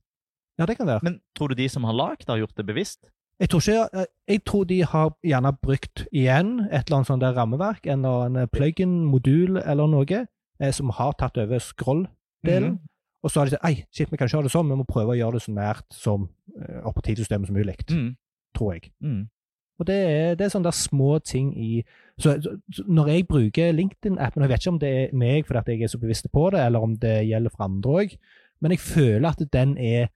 [SPEAKER 2] Ja, det kan være.
[SPEAKER 3] Men tror du de som har lagd, har gjort det bevisst?
[SPEAKER 2] Jeg tror, ikke, eh, jeg tror de har gjerne brukt igjen et eller annet sånt der rammeverk, en eller annen eh, plug-in, modul eller noe, eh, som har tatt over scroll-delen. Og så har de sagt ei, shit, vi kan ikke ha det sånn, vi må prøve å gjøre det så nært som eh, operativsystemet som mulig,
[SPEAKER 3] Mm,
[SPEAKER 2] tror jeg.
[SPEAKER 3] mm.
[SPEAKER 2] Og det er, det er sånne der små ting i så, så, så Når jeg bruker LinkedIn-appen, og jeg vet ikke om det er meg fordi at jeg er så bevisst på det, eller om det gjelder for andre òg, men jeg føler at den er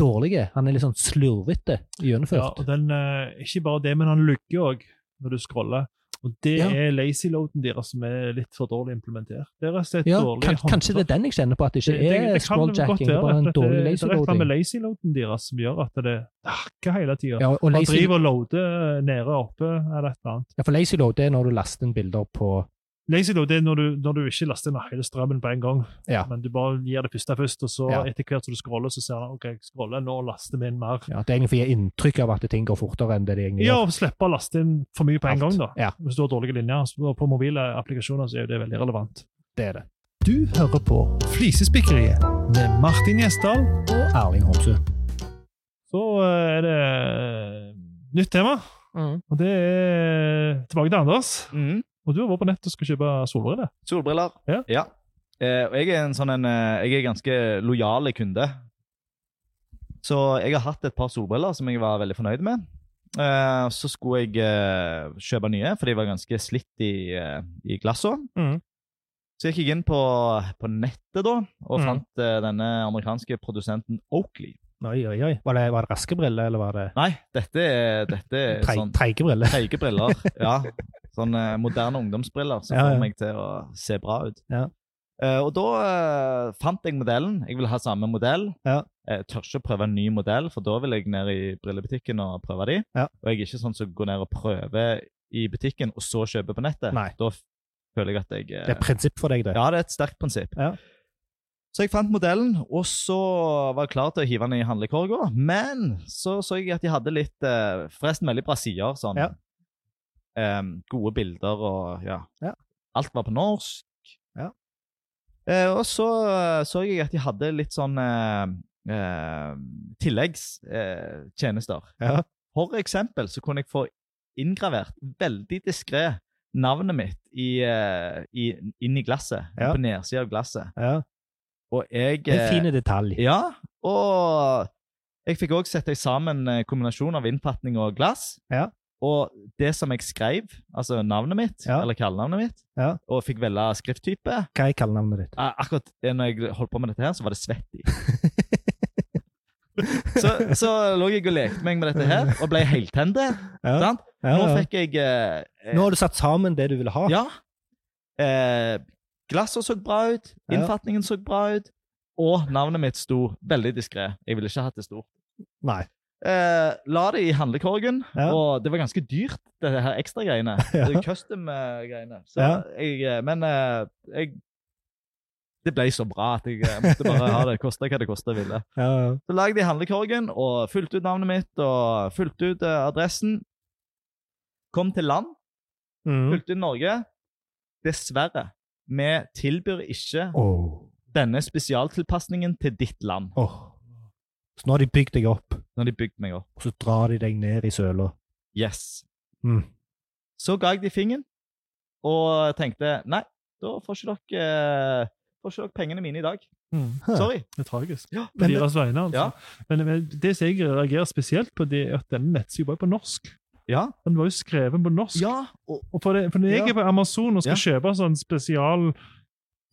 [SPEAKER 2] dårlig. Han er litt sånn slurvete
[SPEAKER 1] Ja,
[SPEAKER 2] gjennomført.
[SPEAKER 1] og den, eh, ikke bare det, men han lugger òg når du scroller. Og det
[SPEAKER 2] Ja.
[SPEAKER 1] er lazy-loaden deres som er litt for dårlig implementert. Det er rett og slett
[SPEAKER 2] Ja,
[SPEAKER 1] dårlig
[SPEAKER 2] kan, kanskje det er den jeg kjenner på, at det ikke
[SPEAKER 1] det,
[SPEAKER 2] er
[SPEAKER 1] det kan godt
[SPEAKER 2] scrolljacking, det er
[SPEAKER 1] være
[SPEAKER 2] bare
[SPEAKER 1] at
[SPEAKER 2] en
[SPEAKER 1] det, det
[SPEAKER 2] dårlig
[SPEAKER 1] er et eller annet med
[SPEAKER 2] laserloading.
[SPEAKER 1] lazy-loaden deres som gjør at det hakker hele tida.
[SPEAKER 2] Ja, og
[SPEAKER 1] Man
[SPEAKER 2] lazy,
[SPEAKER 1] driver og loader eh, nede og oppe eller et eller annet.
[SPEAKER 2] ja, for lazy load det er når du laster inn bilder på
[SPEAKER 1] Lazy load det er når du, når du ikke laster inn hele strømmen på en gang,
[SPEAKER 2] Ja.
[SPEAKER 1] men du bare gir det første først, og så
[SPEAKER 2] Ja.
[SPEAKER 1] etter hvert som du scroller, så ser du ok, jeg scroller, nå laster vi inn mer.
[SPEAKER 2] ja, Det er egentlig for å gi inntrykk av at ting går fortere enn det de egentlig
[SPEAKER 1] Ja,
[SPEAKER 2] gjør.
[SPEAKER 1] og slippe å laste inn for mye på en
[SPEAKER 2] Alt.
[SPEAKER 1] gang, da.
[SPEAKER 2] Ja.
[SPEAKER 1] Hvis du har dårlige linjer. Så På mobile applikasjoner så er jo det veldig relevant.
[SPEAKER 2] Det er det.
[SPEAKER 1] Du hører på Flisespikkeriet med Martin Gjesdal.
[SPEAKER 2] Og Erling Homsø.
[SPEAKER 1] Så eh, er det eh, nytt tema, og det er tilbake til Anders.
[SPEAKER 3] Mm.
[SPEAKER 1] Og du har vært på nett og skal kjøpe solbriller.
[SPEAKER 3] Solbriller.
[SPEAKER 1] Ja.
[SPEAKER 3] Eh, og jeg er en sånn en eh, Jeg er ganske lojale kunde. Så jeg har hatt et par solbriller som jeg var veldig fornøyd med. Eh, så skulle jeg eh, kjøpe nye, for de var ganske slitt i, eh, i glassa.
[SPEAKER 1] Mhm.
[SPEAKER 3] Så jeg gikk inn på, på nettet da, og
[SPEAKER 1] Mhm.
[SPEAKER 3] fant eh, denne amerikanske produsenten Oakley.
[SPEAKER 2] Oi, oi, oi. Var det, var det raske briller, eller var det
[SPEAKER 3] Nei, dette er, dette er
[SPEAKER 2] treige
[SPEAKER 3] sånn
[SPEAKER 2] briller?
[SPEAKER 3] treige briller. Ja. Sånn eh, moderne ungdomsbriller som
[SPEAKER 2] Ja, ja.
[SPEAKER 3] får meg til å se bra ut.
[SPEAKER 2] Ja.
[SPEAKER 3] Eh, og da eh, fant jeg modellen. Jeg vil ha samme modell.
[SPEAKER 2] Ja.
[SPEAKER 3] Jeg tør ikke prøve en ny modell, for da vil jeg ned i brillebutikken og prøve de.
[SPEAKER 2] Ja.
[SPEAKER 3] Og jeg er ikke sånn som går ned og prøver i butikken, og så kjøper på nettet.
[SPEAKER 2] Nei.
[SPEAKER 3] Da f- føler jeg at jeg eh,
[SPEAKER 2] Det er et prinsipp for deg, det.
[SPEAKER 3] ja, det er et sterkt prinsipp.
[SPEAKER 2] Ja.
[SPEAKER 3] Så jeg fant modellen, og så var jeg klar til å hive den i handlekorga. Men så så jeg at de hadde litt eh, Forresten veldig bra sider. Sånn,
[SPEAKER 2] Ja.
[SPEAKER 3] Em, gode bilder og ja.
[SPEAKER 2] Ja.
[SPEAKER 3] Alt var på norsk.
[SPEAKER 2] Ja.
[SPEAKER 3] Eh, og så eh, så jeg at de hadde litt sånn Ehm, tilleggstjenester.
[SPEAKER 2] Ja.
[SPEAKER 3] eh, For eksempel så kunne jeg få inngravert veldig diskré navnet mitt i, eh, i, inn i glasset.
[SPEAKER 2] Ja.
[SPEAKER 3] På nedsida av glasset.
[SPEAKER 2] Ja.
[SPEAKER 3] Og jeg
[SPEAKER 2] Det er
[SPEAKER 3] eh,
[SPEAKER 2] fine detalj.
[SPEAKER 3] Ja. Og jeg fikk òg sette sammen eh, kombinasjon av innfatning og glass.
[SPEAKER 2] Ja.
[SPEAKER 3] Og det som jeg skrev, altså navnet mitt,
[SPEAKER 2] Ja.
[SPEAKER 3] eller kallenavnet mitt,
[SPEAKER 2] Ja.
[SPEAKER 3] og fikk velge skrifttype eh,
[SPEAKER 2] Hva er kallenavnet ditt?
[SPEAKER 3] Akkurat det når jeg holdt på med dette her, så var det Svetty. så, så lå jeg og lekte meg med dette her, og ble heltende.
[SPEAKER 2] Ja.
[SPEAKER 3] Sant?
[SPEAKER 2] Ja,
[SPEAKER 3] Nå
[SPEAKER 2] ja.
[SPEAKER 3] fikk jeg eh, eh,
[SPEAKER 2] Nå har du satt sammen det du ville ha.
[SPEAKER 3] Ja. Eh, glasset så bra ut,
[SPEAKER 2] Ja.
[SPEAKER 3] innfatningen så bra ut, og navnet mitt sto veldig diskré. Jeg ville ikke hatt det stort.
[SPEAKER 2] Nei.
[SPEAKER 3] Eh, la det i handlekorgen,
[SPEAKER 2] Ja.
[SPEAKER 3] og det var ganske dyrt, det her ekstragreiene.
[SPEAKER 2] Ja.
[SPEAKER 3] Det Custom-greiene. Så
[SPEAKER 2] Ja.
[SPEAKER 3] jeg eh, Men eh, jeg Det ble så bra at jeg eh, måtte bare ha det. Kosta hva det kosta ville.
[SPEAKER 2] Ja, ja.
[SPEAKER 3] Så la jeg det i handlekorgen og fulgte ut navnet mitt og fulgte ut eh, adressen. Kom til land.
[SPEAKER 2] Mm.
[SPEAKER 3] Fulgte Norge. Dessverre. Vi tilbyr ikke
[SPEAKER 2] Åh.
[SPEAKER 3] denne spesialtilpasningen til ditt land.
[SPEAKER 2] Åh. Så nå har de bygd deg opp,
[SPEAKER 3] Når de bygde meg opp.
[SPEAKER 2] og så drar de deg ned i søla.
[SPEAKER 3] Yes.
[SPEAKER 2] Mm.
[SPEAKER 3] Så ga jeg de fingeren og tenkte nei, da får ikke dere, eh, får ikke dere pengene mine i dag.
[SPEAKER 2] Hæ.
[SPEAKER 3] Sorry.
[SPEAKER 1] Mm. Det er tragisk.
[SPEAKER 3] Ja,
[SPEAKER 1] på
[SPEAKER 2] men det-
[SPEAKER 1] deres vegne, altså.
[SPEAKER 3] Ja.
[SPEAKER 1] Men men det som jeg reagerer spesielt på, det er at denne nettsiden var jo på norsk.
[SPEAKER 3] Ja.
[SPEAKER 1] Den var jo skreven på norsk.
[SPEAKER 3] ja og,
[SPEAKER 1] Og for, det, for når jeg
[SPEAKER 3] Ja.
[SPEAKER 1] er på Amazon og skal kjøpe sånn spesial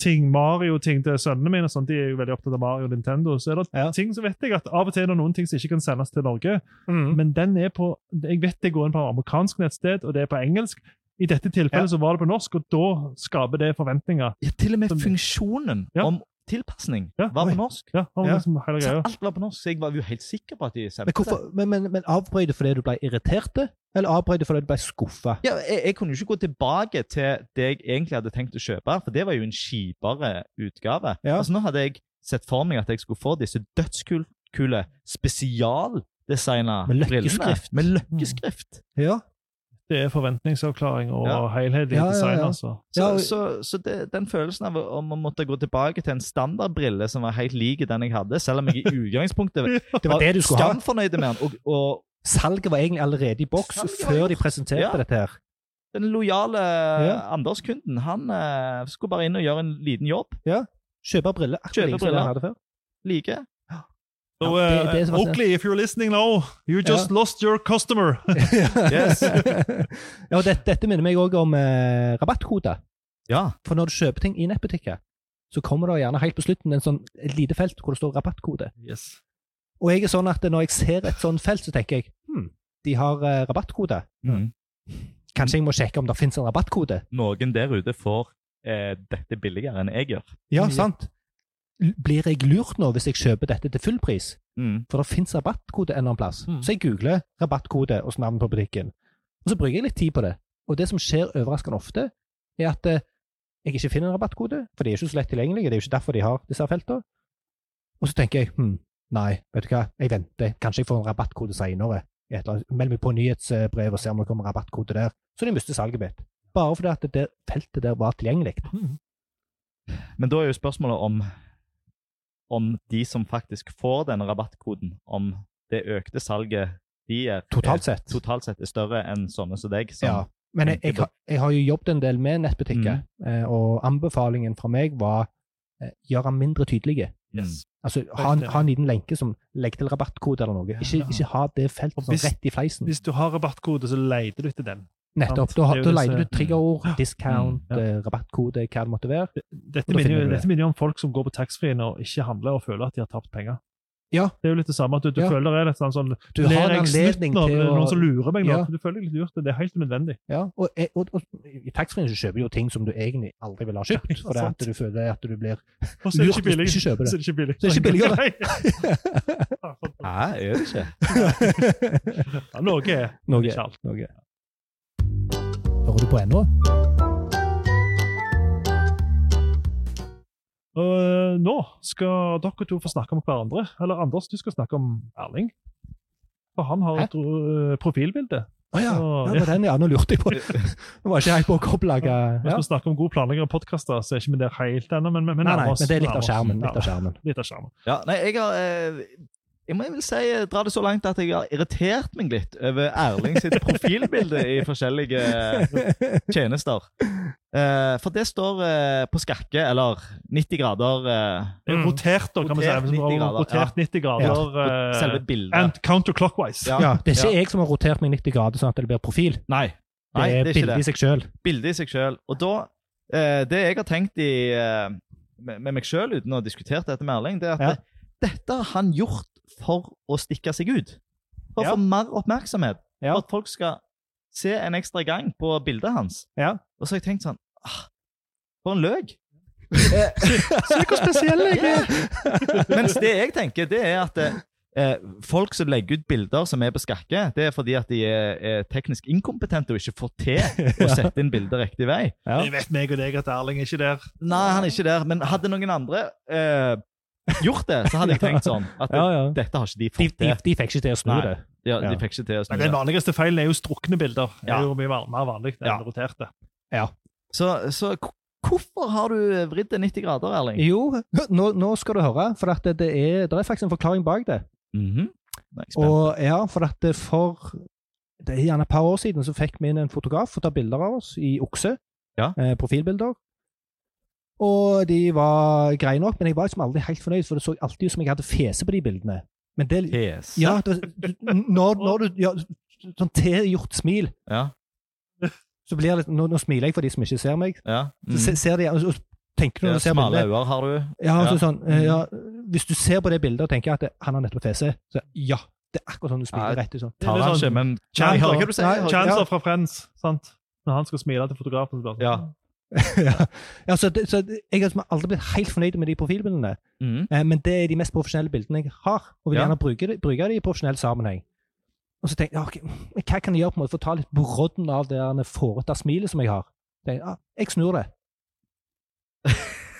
[SPEAKER 1] ting, Mario-ting til sønnene mine, og sånt, de er jo veldig opptatt av Mario og Nintendo, så er det
[SPEAKER 2] Ja.
[SPEAKER 1] ting som vet jeg at av og til er det noen ting som ikke kan sendes til Norge,
[SPEAKER 2] Mm.
[SPEAKER 1] men den er på Jeg vet det går inn på amerikansk nettsted, og det er på engelsk. I dette tilfellet
[SPEAKER 2] Ja.
[SPEAKER 1] så var det på norsk, og da skaper det forventninger.
[SPEAKER 3] ja, til og med
[SPEAKER 1] Som-
[SPEAKER 3] funksjonen
[SPEAKER 1] Ja.
[SPEAKER 3] om tilpasning
[SPEAKER 1] Ja,
[SPEAKER 3] var
[SPEAKER 1] oi.
[SPEAKER 3] på norsk.
[SPEAKER 1] Ja, det var
[SPEAKER 2] Ja.
[SPEAKER 1] liksom hele
[SPEAKER 3] Så
[SPEAKER 1] greia.
[SPEAKER 3] alt var på norsk, så jeg var jo helt sikker på at de sendte
[SPEAKER 2] Men, hvorfor, men, men, men avbrøt du fordi du ble irritert, det? eller avbrøt du fordi du ble skuffa?
[SPEAKER 3] Ja, jeg, jeg kunne jo ikke gå tilbake til det jeg egentlig hadde tenkt å kjøpe, for det var jo en kjipere utgave.
[SPEAKER 2] Ja.
[SPEAKER 3] Altså Nå hadde jeg sett for meg at jeg skulle få disse dødskule spesialdesigna
[SPEAKER 2] Med
[SPEAKER 3] brillene.
[SPEAKER 2] løkkeskrift. Mm.
[SPEAKER 3] Med løkkeskrift.
[SPEAKER 2] Ja.
[SPEAKER 1] Det er forventningsavklaring og
[SPEAKER 3] Ja.
[SPEAKER 1] helhetlig
[SPEAKER 2] Ja, ja,
[SPEAKER 1] design,
[SPEAKER 2] ja.
[SPEAKER 1] altså.
[SPEAKER 3] Så,
[SPEAKER 2] Ja, og-
[SPEAKER 3] så, så det, den følelsen av å- om å måtte gå tilbake til en standardbrille som var helt lik den jeg hadde, selv om jeg i utgangspunktet
[SPEAKER 2] Det var det du skulle ha.
[SPEAKER 3] skamfornøyd med den, og, og
[SPEAKER 2] Salget var egentlig allerede i boks
[SPEAKER 3] Salget var i
[SPEAKER 2] før de
[SPEAKER 3] boks.
[SPEAKER 2] presenterte
[SPEAKER 3] Ja.
[SPEAKER 2] dette. her.
[SPEAKER 3] den lojale eh,
[SPEAKER 2] Ja.
[SPEAKER 3] Anders-kunden, han eh, skulle bare inn og gjøre en liten jobb.
[SPEAKER 2] Kjøpe briller. akkurat
[SPEAKER 3] Kjøpe
[SPEAKER 2] like som
[SPEAKER 3] briller.
[SPEAKER 2] jeg hadde før.
[SPEAKER 3] Like.
[SPEAKER 1] So,
[SPEAKER 2] Ja, det-
[SPEAKER 1] uh,
[SPEAKER 2] det er så fascinerende.
[SPEAKER 1] Oakley, if you're listening now, you just lost your customer.
[SPEAKER 3] Yes.
[SPEAKER 2] ja, og dette, dette minner meg òg om eh, rabattkode.
[SPEAKER 3] Ja.
[SPEAKER 2] For når du kjøper ting i nettbutikker, så kommer det gjerne helt på slutten en sånn, et lite felt hvor det står rabattkode.
[SPEAKER 1] Yes.
[SPEAKER 2] Og jeg er sånn at når jeg ser et sånn felt, så tenker jeg hm, de har eh, rabattkode.
[SPEAKER 3] Mm.
[SPEAKER 2] Kanskje jeg må sjekke om det finnes en rabattkode?
[SPEAKER 3] Noen der ute får eh, dette billigere enn jeg gjør.
[SPEAKER 2] Ja,
[SPEAKER 1] Ja.
[SPEAKER 2] sant? L- Blir jeg lurt nå hvis jeg kjøper dette til full pris?
[SPEAKER 3] Mm.
[SPEAKER 2] For det fins rabattkode en eller annen plass.
[SPEAKER 1] Mm.
[SPEAKER 2] Så jeg googler rabattkode og så navn på butikken. Og så bruker jeg litt tid på det. Og det som skjer overraskende ofte, er at eh, jeg ikke finner en rabattkode, for de er ikke så lett tilgjengelige. Det er jo ikke derfor de har disse feltene. Og så tenker jeg hm, nei, vet du hva, jeg venter. Kanskje jeg får en rabattkode senere. I et eller annet- Meld meg på nyhetsbrev og se om det kommer rabattkode der. Så de mister salget mitt. Bare fordi at det der feltet der var tilgjengelig.
[SPEAKER 3] Men da er jo spørsmålet om, om de som faktisk får denne rabattkoden, om det økte salget de er,
[SPEAKER 2] Totalt sett.
[SPEAKER 3] er, totalt sett er større enn sånne som deg. Som,
[SPEAKER 2] Ja, men jeg, jeg,
[SPEAKER 3] tenker på-
[SPEAKER 2] har- jeg har jo jobbet en del med nettbutikker,
[SPEAKER 1] Mm.
[SPEAKER 2] eh, og anbefalingen fra meg var eh, gjøre den mindre tydelige.
[SPEAKER 3] Yes.
[SPEAKER 2] Altså, ha, en- ha en liten lenke som legger til rabattkode eller noe. Ikke,
[SPEAKER 1] Ja.
[SPEAKER 2] ikke ha det feltet
[SPEAKER 1] Og
[SPEAKER 2] sånn
[SPEAKER 1] hvis-
[SPEAKER 2] rett i fleisen.
[SPEAKER 1] Hvis du har rabattkode, så leter du etter den.
[SPEAKER 2] Nettopp.
[SPEAKER 1] sant.
[SPEAKER 2] Da, har-
[SPEAKER 1] Det er
[SPEAKER 2] da
[SPEAKER 1] jo
[SPEAKER 2] leter du
[SPEAKER 1] disse-
[SPEAKER 2] triggerord, discount,
[SPEAKER 1] ja.
[SPEAKER 2] eh, rabattkode, hva det måtte være.
[SPEAKER 1] Dette
[SPEAKER 2] Da
[SPEAKER 1] minner,
[SPEAKER 2] finner
[SPEAKER 1] jo-
[SPEAKER 2] du det.
[SPEAKER 1] dette minner jo om folk som går på taxfree-en og ikke handler og føler at de har tapt penger.
[SPEAKER 2] Ja.
[SPEAKER 1] Det er jo litt det samme at du, du
[SPEAKER 2] Ja.
[SPEAKER 1] føler det er litt sånn, sånn
[SPEAKER 2] Du har
[SPEAKER 1] ler
[SPEAKER 2] en
[SPEAKER 1] jeg snytt
[SPEAKER 2] anledning
[SPEAKER 1] nå?
[SPEAKER 2] til
[SPEAKER 1] Det er
[SPEAKER 2] å
[SPEAKER 1] Noen som lurer meg nå?
[SPEAKER 2] Ja.
[SPEAKER 1] Du føler deg litt lurt, og det er helt nødvendig.
[SPEAKER 2] ja, og, eh, og, og, I taxfree-en så kjøper du jo ting som du egentlig aldri ville ha kjøpt,
[SPEAKER 1] Ja,
[SPEAKER 2] for det
[SPEAKER 1] sant.
[SPEAKER 2] at du føler at du blir
[SPEAKER 1] Og så er det
[SPEAKER 2] lurt
[SPEAKER 1] ikke
[SPEAKER 2] hvis du
[SPEAKER 1] billig.
[SPEAKER 2] ikke kjøper
[SPEAKER 1] Så
[SPEAKER 2] det.
[SPEAKER 1] er det ikke billig.
[SPEAKER 2] Så er det ikke billigere.
[SPEAKER 1] Nei.
[SPEAKER 3] Hæ, er det ikke?
[SPEAKER 1] Ja, Noe er
[SPEAKER 2] Noe.
[SPEAKER 1] ikke alt.
[SPEAKER 2] Norge. Hører du på ennå?
[SPEAKER 1] Og eh, nå skal dere to få snakke om hverandre. Eller Anders, du skal snakke om Erling. For han har et øh, profilbilde.
[SPEAKER 2] Å ja.
[SPEAKER 1] Å,
[SPEAKER 2] ja, det var den, ja. Nå lurte jeg på det. Nå var jeg ikke helt på kopplaga.
[SPEAKER 1] Hvis
[SPEAKER 2] Ja.
[SPEAKER 1] vi snakker om god planlegging av podkaster, så er ikke vi der helt ennå, men, men, men
[SPEAKER 2] Nei, nei,
[SPEAKER 1] nærmer oss-
[SPEAKER 2] men det er litt
[SPEAKER 1] nærmer
[SPEAKER 2] av
[SPEAKER 1] oss.
[SPEAKER 2] skjermen.
[SPEAKER 1] Ja,
[SPEAKER 2] Litt av skjermen.
[SPEAKER 1] litt av skjermen.
[SPEAKER 3] Ja, nei, jeg har eh, Jeg må vel si eh, dra det så langt at jeg har irritert meg litt over Erling sitt profilbilde i forskjellige eh, tjenester. Eh, for det står eh, på skakke, eller 90 grader eh,
[SPEAKER 1] Det er
[SPEAKER 2] Mm.
[SPEAKER 1] Rotert, da, kan vi si.
[SPEAKER 3] Rotert
[SPEAKER 1] Hvis vi
[SPEAKER 3] 90
[SPEAKER 1] har
[SPEAKER 3] grader,
[SPEAKER 1] Rotert 90 grader. eh,
[SPEAKER 3] selve bildet.
[SPEAKER 1] and counterclockwise.
[SPEAKER 3] Ja.
[SPEAKER 2] Ja, det er ikke jeg som har rotert meg 90 grader sånn at det blir profil.
[SPEAKER 3] Nei.
[SPEAKER 2] Det
[SPEAKER 3] Nei,
[SPEAKER 2] er
[SPEAKER 3] det er ikke
[SPEAKER 2] bildet
[SPEAKER 3] det.
[SPEAKER 2] i seg sjøl.
[SPEAKER 3] Bildet i seg sjøl. Og da eh, Det jeg har tenkt i, eh, med, med meg sjøl, uten å ha diskutert dette med Erling, det er at
[SPEAKER 2] Ja.
[SPEAKER 3] dette har han gjort for å stikke seg ut. For å
[SPEAKER 2] Ja.
[SPEAKER 3] få mer oppmerksomhet.
[SPEAKER 2] Ja.
[SPEAKER 3] For at folk skal se en ekstra gang på bildet hans.
[SPEAKER 2] Ja.
[SPEAKER 3] Og så har jeg tenkt sånn ah, For en løk!
[SPEAKER 2] Eh. Se hvor spesiell jeg er!
[SPEAKER 3] Mens det jeg tenker, det er at eh, folk som legger ut bilder som er på skakke, det er fordi at de er, er teknisk inkompetente og ikke får til å sette inn bilder riktig vei.
[SPEAKER 2] Ja.
[SPEAKER 1] Jeg vet meg og deg at Erling er ikke der.
[SPEAKER 3] Nei, han er ikke der, men hadde noen andre eh, gjort det, så hadde jeg tenkt sånn at
[SPEAKER 2] Ja, ja.
[SPEAKER 3] dette har ikke de
[SPEAKER 2] De, de,
[SPEAKER 3] fått til.
[SPEAKER 2] de fikk ikke til å snu
[SPEAKER 3] Nei.
[SPEAKER 2] det.
[SPEAKER 3] Ja, de
[SPEAKER 2] ja.
[SPEAKER 3] fikk ikke til å snu
[SPEAKER 1] Men
[SPEAKER 3] det.
[SPEAKER 1] Den vanligste feilen er jo strukne bilder. Det
[SPEAKER 3] Ja.
[SPEAKER 1] er jo mye mer- mer vanlig enn
[SPEAKER 3] Ja.
[SPEAKER 1] roterte.
[SPEAKER 3] Så, så k- hvorfor har du vridd det 90 grader, Erling?
[SPEAKER 2] Jo, nå, nå skal du høre, for at det, det, er, det er faktisk en forklaring bak det.
[SPEAKER 3] Mhm. Nå er jeg spent.
[SPEAKER 2] Og ja, for at det for det er gjerne et par år siden så fikk vi inn en fotograf for å ta bilder av oss i okse.
[SPEAKER 3] Ja.
[SPEAKER 2] Eh, profilbilder. Og de var greie nok, men jeg var liksom aldri helt fornøyd, for det så alltid ut som jeg hadde fese på de bildene. Men det
[SPEAKER 3] Yes.
[SPEAKER 2] Ja, det, var- når, når du ja, Sånn tilgjort smil,
[SPEAKER 3] Ja.
[SPEAKER 2] så blir det litt nå, nå smiler jeg for de som ikke ser meg.
[SPEAKER 3] ja. Mhm.
[SPEAKER 2] Så se- ser de, og, og tenker du når
[SPEAKER 3] Mm. Ja,
[SPEAKER 2] du ser
[SPEAKER 3] Smale
[SPEAKER 2] bildet
[SPEAKER 3] øyne har du.
[SPEAKER 2] ja, og så
[SPEAKER 3] Ja. Mm.
[SPEAKER 2] sånn, eh, ja, Hvis du ser på det bildet og tenker at det, han har nettopp fese, så ja, det er akkurat sånn du smiler
[SPEAKER 3] Ja,
[SPEAKER 2] rett ut sånn.
[SPEAKER 3] Tar han ikke, men
[SPEAKER 1] Nei,
[SPEAKER 3] Jeg hører
[SPEAKER 1] da-
[SPEAKER 3] hva du sier. jeg hører hva du-
[SPEAKER 1] Chancellor fra Friends, sant? Når han skal smile til fotografen. så blir han
[SPEAKER 3] Ja.
[SPEAKER 1] sånn.
[SPEAKER 2] ja. ja, så, det, så det- Jeg har liksom aldri blitt helt fornøyd med de profilbildene,
[SPEAKER 3] Mhm.
[SPEAKER 2] eh, men det er de mest profesjonelle bildene jeg har, og vil
[SPEAKER 3] Ja.
[SPEAKER 2] gjerne bruke, de, bruke de i profesjonell sammenheng. Og så tenker jeg, ja, ok, men hva kan jeg gjøre på en måte for å ta litt brodden av det der fårete smilet som jeg har? Tenker, jeg, ja, jeg snur det.